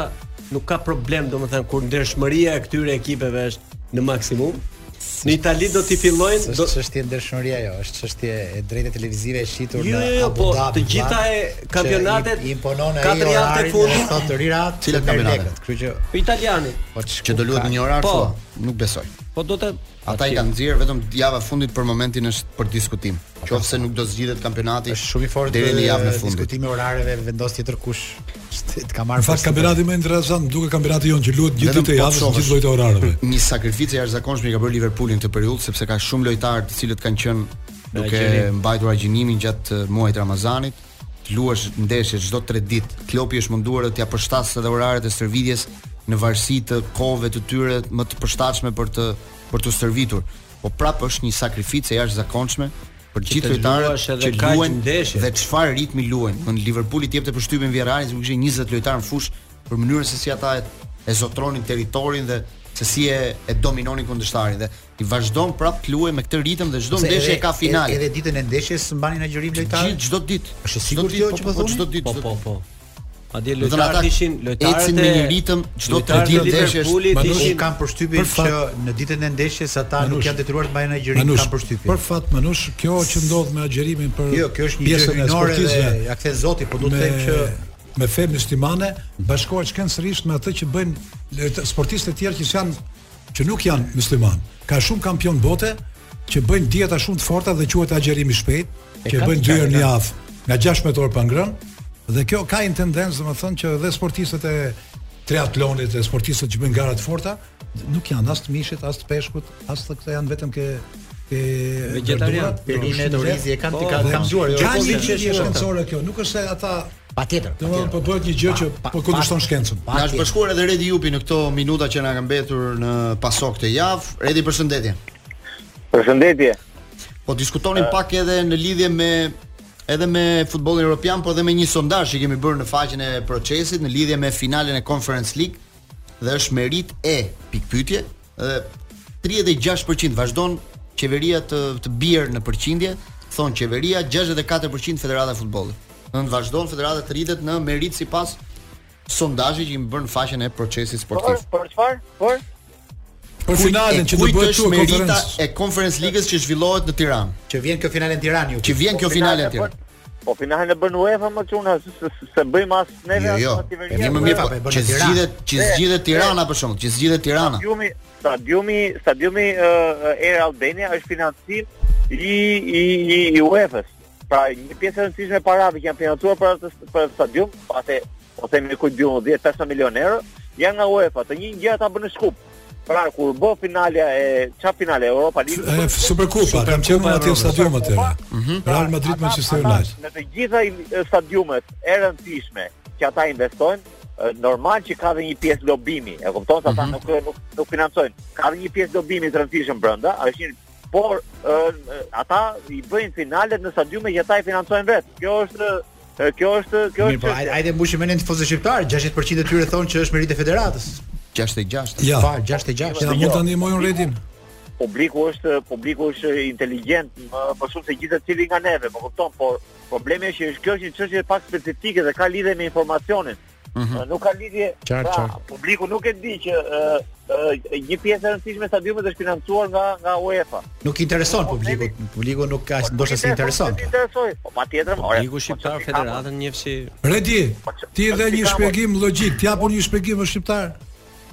S4: nuk ka problem, domethënë kur ndershmëria e këtyre ekipeve është në maksimum. Në Itali do t'i fillojnë
S2: Është
S4: do,
S2: çështje ndershmërie ajo, është çështje e drejtë televizive e shitur
S4: Jo,
S2: në
S4: jo, jo,
S2: Abu
S4: po,
S2: Dhabi.
S4: të gjitha
S2: vlla,
S4: e
S2: që
S4: kampionatet,
S2: i imponon ai
S4: katër javë
S2: orarin,
S4: tek fundi.
S2: Thotë të rira,
S1: Cilat
S2: merr
S1: kampionate?
S2: lekët, Kështu që
S4: italiani.
S2: po çku
S1: që do luhet
S2: ka-
S1: në një orar
S4: Po.
S1: po. nuk besoj.
S4: Po do të
S1: Ata i kanë nxjerr vetëm java e fundit për momentin është për diskutim. Qofse nuk do zgjidhet kampionati
S2: është shumë i fortë
S1: deri në javën e
S2: eh,
S1: fundit.
S2: Diskutimi orareve vendos tjetër kush të ka marrë.
S3: Në fakt kampionati më interesant, më duket kampionati jon që luhet gjithë
S1: Vetëm
S3: ditën e
S1: po të
S3: javës në
S1: shohësh.
S3: gjithë llojet e orareve.
S1: (laughs) Një sakrificë jashtëzakonshme i ka bërë Liverpooli në këtë periudhë sepse ka shumë lojtarë të cilët kanë qenë duke
S4: agjërim.
S1: mbajtur agjënimin gjatë eh, muajit Ramazanit të luash ndeshje çdo 3 ditë. Klopi është munduar t'ia përshtasë edhe oraret e stërvitjes në varësi të kohëve të tyre më të përshtatshme për të për të stërvitur. Po prapë është një sakrificë e jashtëzakonshme për
S4: të
S1: gjithë lojtarët
S4: luash edhe
S1: që
S4: kaq
S1: luajnë
S4: ndeshje.
S1: dhe çfarë ritmi luajnë. Do në Liverpooli i jepte përshtypjen Villarreal se kishin 20 lojtarë në fushë për mënyrën se si ata e, e zotronin territorin dhe se si e, e dominonin kundërshtarin dhe i vazhdon prapë të luajë me këtë ritëm dhe çdo ndeshje ka final.
S2: Edhe ditën e ndeshjes mbanin agjërim
S1: Gjithë
S2: lojtarë.
S1: çdo ditë.
S2: Është e
S1: Çdo
S2: sigurt
S1: ditë,
S2: kjo
S1: po,
S2: që
S1: po,
S2: po
S1: po,
S2: thoni?
S1: çdo ditë.
S4: Po po po. Madje
S1: Do të thonë,
S4: lojtarët
S1: ata
S4: ishin lojtarët
S1: ecin me
S4: e-
S1: një ritëm çdo tre
S4: lojtarët e
S1: ditë ndeshje është-
S4: Liverpoolit
S3: Manush,
S4: ishin
S2: Unë kam përshtypjen
S3: Për fat-
S2: që në ditën e ndeshjes ata nuk
S3: Manush,
S2: janë detyruar të mbajnë agjërim, kam përshtypjen.
S3: Për fat Manush, kjo që ndodh me agjerimin për
S2: Jo, kjo është një gjë hyjnore dhe ja kthen Zoti, po duhet të them që
S3: me femën shtimane bashkohet shkencërisht me atë që bëjnë lojta- sportistë të tjerë që janë që nuk janë musliman. Ka shumë kampion bote që bëjnë dieta shumë të forta dhe quhet agjerim i shpejt, që
S2: ka
S3: bëjnë dy
S2: të qartë,
S3: herë në
S2: ka.
S3: javë, nga 16 orë pa ngrënë. Dhe kjo ka një tendencë, domethënë që edhe sportistët e triatlonit dhe sportistët që bëjnë gara të forta nuk janë as të mishit, as të peshkut, as të këta janë vetëm ke ke
S4: Vegetarian.
S3: verdura.
S2: Perinë e
S3: Shumë
S2: Torizi e kanë
S4: Po,
S2: ti kanë
S4: dhe-
S2: kanë mësuar.
S3: Ka një
S4: që
S3: lidhje
S4: është
S3: shkencore kjo, nuk është se ata
S2: Patjetër.
S3: Do të po bëhet një gjë që po kundërshton shkencën.
S1: Na është bashkuar edhe Redi Jupi në këto minuta që na ka mbetur në pasok këtë javë. Redi përshëndetje.
S5: Përshëndetje.
S1: Po diskutonin pak edhe në lidhje me edhe me futbollin evropian, por edhe me një sondazh që kemi bërë në faqen e procesit në lidhje me finalen e Conference League dhe është merit e pikpyetje dhe 36% vazhdon qeveria të të bjerë në përqindje, thon qeveria 64% Federata e Futbollit. Do të thonë vazhdon Federata të rritet në merit sipas sondazhit që kemi bërë në faqen e procesit
S5: Por,
S1: sportiv.
S5: por çfarë? Por
S3: Për finalen që do
S1: Kujt
S3: bëhet
S1: është
S3: këtu e
S1: merita
S3: konferencë.
S1: e Conference League-s që zhvillohet në Tiranë,
S2: që vjen kjo finale në Tiranë ju.
S1: që vjen kjo finale në
S5: e
S1: Tiranë.
S5: bën- Po finalen e bën UEFA më çuna se, se, se bëjmë as neve
S1: Jo,
S5: as
S1: jo.
S5: as qeveria.
S1: Një më
S5: UEFA.
S1: mirë po,
S2: po e bën
S1: që
S2: në Tiranë.
S1: zgjidhet, që zgjidhet Tirana për shkak, që zgjidhet Tirana.
S5: Stadiumi, stadiumi, eh, stadiumi uh, Air Albania është financim i i i, i UEFA-s. pra një pjesë e rëndësishme e parave që janë penalizuar për atë për atë stadium, pasi po themi ku 10 15 milionë euro, janë nga UEFA, të një gjë ata bën në Shkup. Pra kur bë finalja e çfarë finale e eh, Europa League.
S3: E, Superkupa, kam qenë në atë stadium atë.
S5: Mhm.
S3: Real Madrid Manchester
S5: ata
S3: United.
S5: Në të gjitha i- e, stadiumet e rëndësishme që ata investojnë, e, normal që ka dhe një pjesë lobimi, e kupton se
S3: Mhm.
S5: ata nuk, eh, nuk nuk financojnë. Ka dhe një pjesë lobimi të rëndësishëm brenda, është një por e, e, ata i bëjnë finalet në stadiume që ata i financojnë vetë. Kjo është e, kjo është kjo
S6: Mirë,
S5: është
S6: po
S5: çështja.
S6: hajde- hajde mbushim mendin tifozë shqiptar, 60% e tyre thonë që është meritë e federatës.
S1: 66.
S3: Ja,
S6: Pa, 66.
S3: ja mund ta ndihmojnë Redin.
S5: publiku është publiku është inteligjent më më shumë se gjithë secili nga neve, më kupton, por problemi është që është kjo është një çështje pak specifike dhe ka lidhje me informacionin. Nuk ka lidhje.
S6: Qartë,
S5: pra,
S6: qartë.
S5: Publiku nuk e di që uh, uh, një pjesë e rëndësishme e stadiumit është financuar nga nga UEFA.
S6: Nuk i intereson publiku, publiku nuk ka ndoshta se intereson.
S5: Po interesoj. Po patjetër, ore.
S4: Ligu shqiptar federatën njefsi
S3: Redi, ti
S5: Po,
S3: dhe
S5: si
S3: një
S5: ka,
S3: shpjegim logjik, ti japun një shpjegim është shqiptar.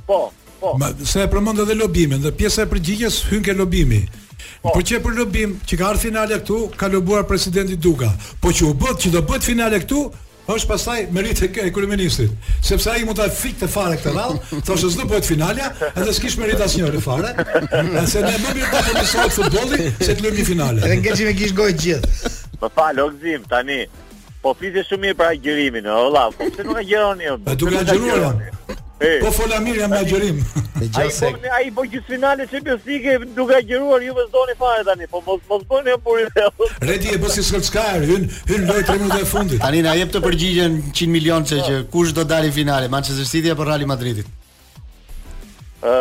S5: Po, po.
S3: Ma, se e përmend edhe lobimin dhe pjesa e përgjigjes hyn ke lobimi. Po që për lobim që ka ardhur finale këtu, ka lobuar presidenti Duka. Po që u bë që do bëhet finale këtu, është pastaj meritë e kë- e kryeministit, sepse ai mund ta fikte fare këtë radhë, thoshte s'do bëhet finalja, edhe s'kish merit asnjëri fare, se ne më mirë do të mësohet futbolli se të luajmë një finale.
S6: Edhe ngeci me kish gojë gjithë.
S5: Më fal, Ogzim, tani. Po flisë shumë mirë për agjerimin, olla, po pse nuk agjeroni?
S3: E duke agjëruar jam.
S5: E.
S3: Po fola mirë jam me agjërim.
S5: Ai
S6: Dëgjoj se
S5: po ai po gjysmëfinale Champions League duke agjëruar ju vëzdoni fare tani, po mos mos bëni burin.
S3: Redi e bësi Solskjaer, hyn hyn loj 3 minuta e fundit.
S1: Tani na jep të përgjigjen 100 milion se që kush do dalë në finale, Manchester City apo Real Madridi?
S5: Ë,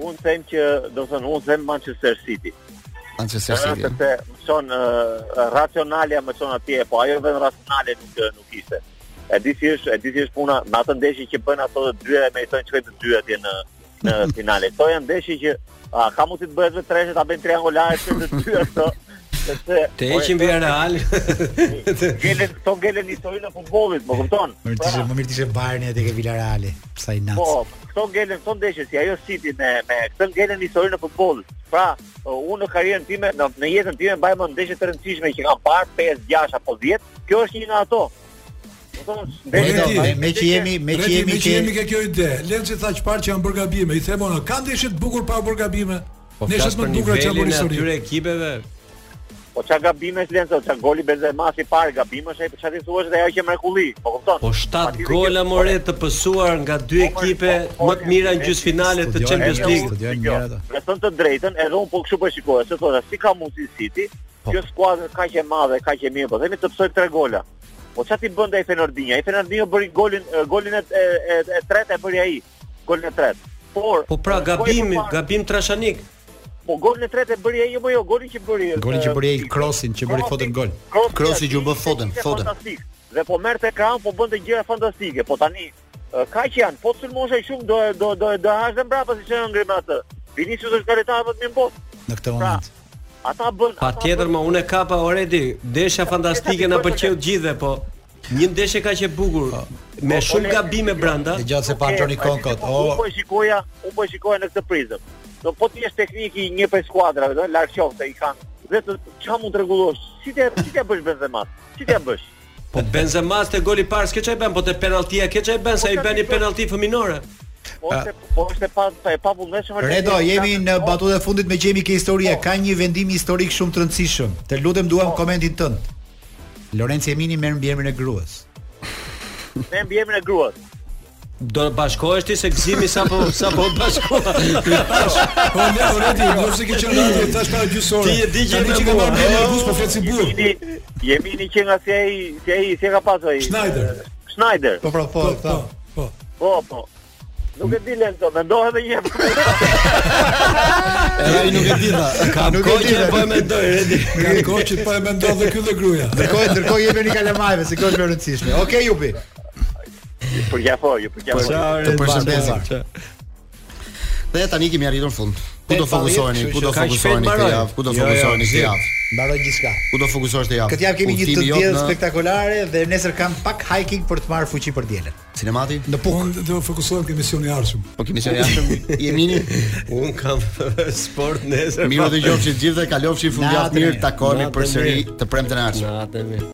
S5: unë them që do të thënë unë them Manchester City.
S1: Manchester
S5: Ë,
S1: City.
S5: Sepse më çon ë, racionalja më çon atje, po ajo vetëm racionale nuk nuk ishte. E di si është, e di si është puna me atë ndeshje që bën ato të dyja, meritojnë çojë të dyja atje në
S1: (laughs)
S5: në finale. Kto janë ndeshje që a, ka mundsi të bëhet vetë treshe ta bëjnë triangulare çojë të dyja
S1: (laughs)
S5: këto. Sepse
S4: Të heqin via real
S5: Gelen, këto gelen historinë e futbollit, më kupton?
S6: Më mirë
S5: Pra,
S6: tishe, më mirë tishe Bayerni edhe ke Villarreali. Sa i natë.
S5: Po, këto ngelen, këto ndeshje si ajo City me me këtë ngelen historinë e futbollit. Pra, uh, unë në karrierën time, në, në jetën time mbaj mend ndeshje të rëndësishme që kam parë 5, 6 apo 10. Kjo është një nga ato. Do thonë, ndeshje-
S3: Redi,
S6: Po, Me, me që jemi, me që
S3: Redi,
S6: jemi
S3: me që jemi ke kjo ide. Lenci tha çfarë që janë bërë gabime. I them ona, ka ndeshje të bukur pa bërë gabime.
S4: Po
S3: Ndeshjet
S4: flas
S3: më
S4: për
S3: të bukura që janë
S4: nivelin
S3: bërë
S4: e atyre
S3: histori.
S4: ekipeve
S5: po çka gabimesh Lenzo, çka goli Benzema si parë gabimesh, e çka ti thua është ajo që e mrekulli, po kupton?
S4: Po 7
S5: Patjetër
S4: gola
S5: që-
S4: more të pësuar nga dy
S5: Po, more,
S4: ekipe
S5: po,
S4: më të mira në
S5: po,
S4: gjysmëfinale të
S6: studion,
S4: Champions
S6: e,
S4: League.
S6: Studiojnë
S5: Dëgjoj,
S6: mirë ato.
S5: Me thënë të drejtën, edhe unë po kështu po e shikoja, se thonë, si ka mundsi City, kjo skuadër kaq e madhe, kaq e mirë, po themi të psoj tre gola. Po çfarë ti bën ai Fenordinja? Ai Fenordinja bëri golin e, golin e e, e, e tretë e bëri ai, golin e tretë. Por
S4: Po pra
S5: e,
S4: gabim,
S5: po e përpara-
S4: gabim trashanik.
S5: Po golin e tretë e bëri ai apo jo, golin që bëri.
S6: Golin që
S5: e,
S6: bëri ai,
S5: Figo.
S6: crossin që bëri
S5: Crossi-
S6: fotën gol.
S5: crossi
S1: Crossi
S5: aty
S1: që u bë
S5: ishte-
S1: fotën,
S5: ishte
S1: fotën.
S5: Fantastik. Dhe po merrte ekran, po bënte gjëra fantastike. Po tani e, kaq janë, po të sulmosha shumë do do do do hash dhe mbrapa si çon ngrim atë. Vinicius është galetari më të mirë në botë.
S6: Në këtë
S5: Pra,
S6: moment.
S5: ata bën
S4: Pa
S5: ata
S4: tjetër
S5: bën-
S4: ma unë e kapa already, desha fantastike na pëlqeu gjithë po një ndeshje kaq e bukur me shumë gabime brenda.
S6: E gjatë se pa
S5: Okej,
S6: Antoni
S5: po,
S6: Konkot.
S5: po, Unë po
S6: O,
S5: e shikoja, unë po e shikoja në këtë prizëm. Do po ti je teknik i një prej skuadrave, do larg qoftë i kanë. Dhe të çfarë mund të rregullosh? Si ti si ti bësh Benzema? Si ti bësh?
S4: Po Benzema te goli parë s'ke çaj bën, po te penaltia ke çaj bën, sa i bën një penalti fëminore.
S5: Ose po është e pa e pa vullnetshme.
S6: Redo, jemi në batutën e fundit me që jemi ke historia. Ka një vendim historik shumë të rëndësishëm. Të lutem duam komentin tënd. Lorenzo Emini merr mbi emrin e gruas.
S5: Ne mbi emrin e gruas.
S4: Do bashkohesh ti se gëzimi po, sapo sapo bashkoha.
S3: Po ne
S4: (laughs)
S3: Redi, do të ke qenë aty tash para gjysore.
S4: Ti e di që
S3: Tani
S4: e
S3: që
S4: bua.
S3: ka marrë me bus po flet si burr.
S5: Jemi jemi një që nga si ai, si ai, si e ka pasur ai.
S3: Schneider.
S5: Schneider.
S6: Po pra po,
S3: Po,
S6: tha.
S3: po, po.
S5: Po, po. Nuk e di Lenzo, mendohet edhe
S6: (laughs)
S5: një herë.
S1: Edhe ai nuk e di tha.
S4: Ka
S6: Nuk e
S4: kohë
S6: di,
S4: që e
S6: e
S4: bëj me doj Redi.
S3: Ka kohë që po e mendon dhe ky dhe gruaja.
S6: Ndërkohë, ndërkohë jemi në kalamajve, se kjo është më e rëndësishme. Okej, Jupi.
S5: Për gjafoj, ju për
S6: Po,
S5: gjafoj.
S1: Të përshëndesim. Dhe tani kemi arritur në fund. Ku do
S6: Tet
S1: fokusoheni?
S6: pari,
S1: Ku do
S4: kështu që ka
S1: fokusoheni
S4: shpejt
S1: këtë
S4: mbaroj.
S1: javë? Ku do
S4: Jo, jo,
S1: fokusoheni këtë
S4: gzim.
S1: javë?
S6: mbaroi gjithçka.
S1: Ku do fokusohesh të javë?
S6: Këtë javë kemi një të
S1: Udhtimi jot
S6: dielë
S1: në
S6: spektakolare dhe nesër kam pak high kick për të marrë fuqi për dielën.
S1: Cinemati?
S3: Në pukë. Unë do fokusohem ke misionin e arshëm.
S1: Po kemi qenë jashtëm Jemini
S7: Un kam sport nesër.
S1: Mirë dhe gjofshi të gjithë dhe kalofshi fundjavë
S6: Natën e
S1: mirë
S6: mirë.
S1: Takoni
S7: Natën e
S1: përsëri
S7: mirë.
S1: të premten e ardhshme
S7: Na, atë mirë.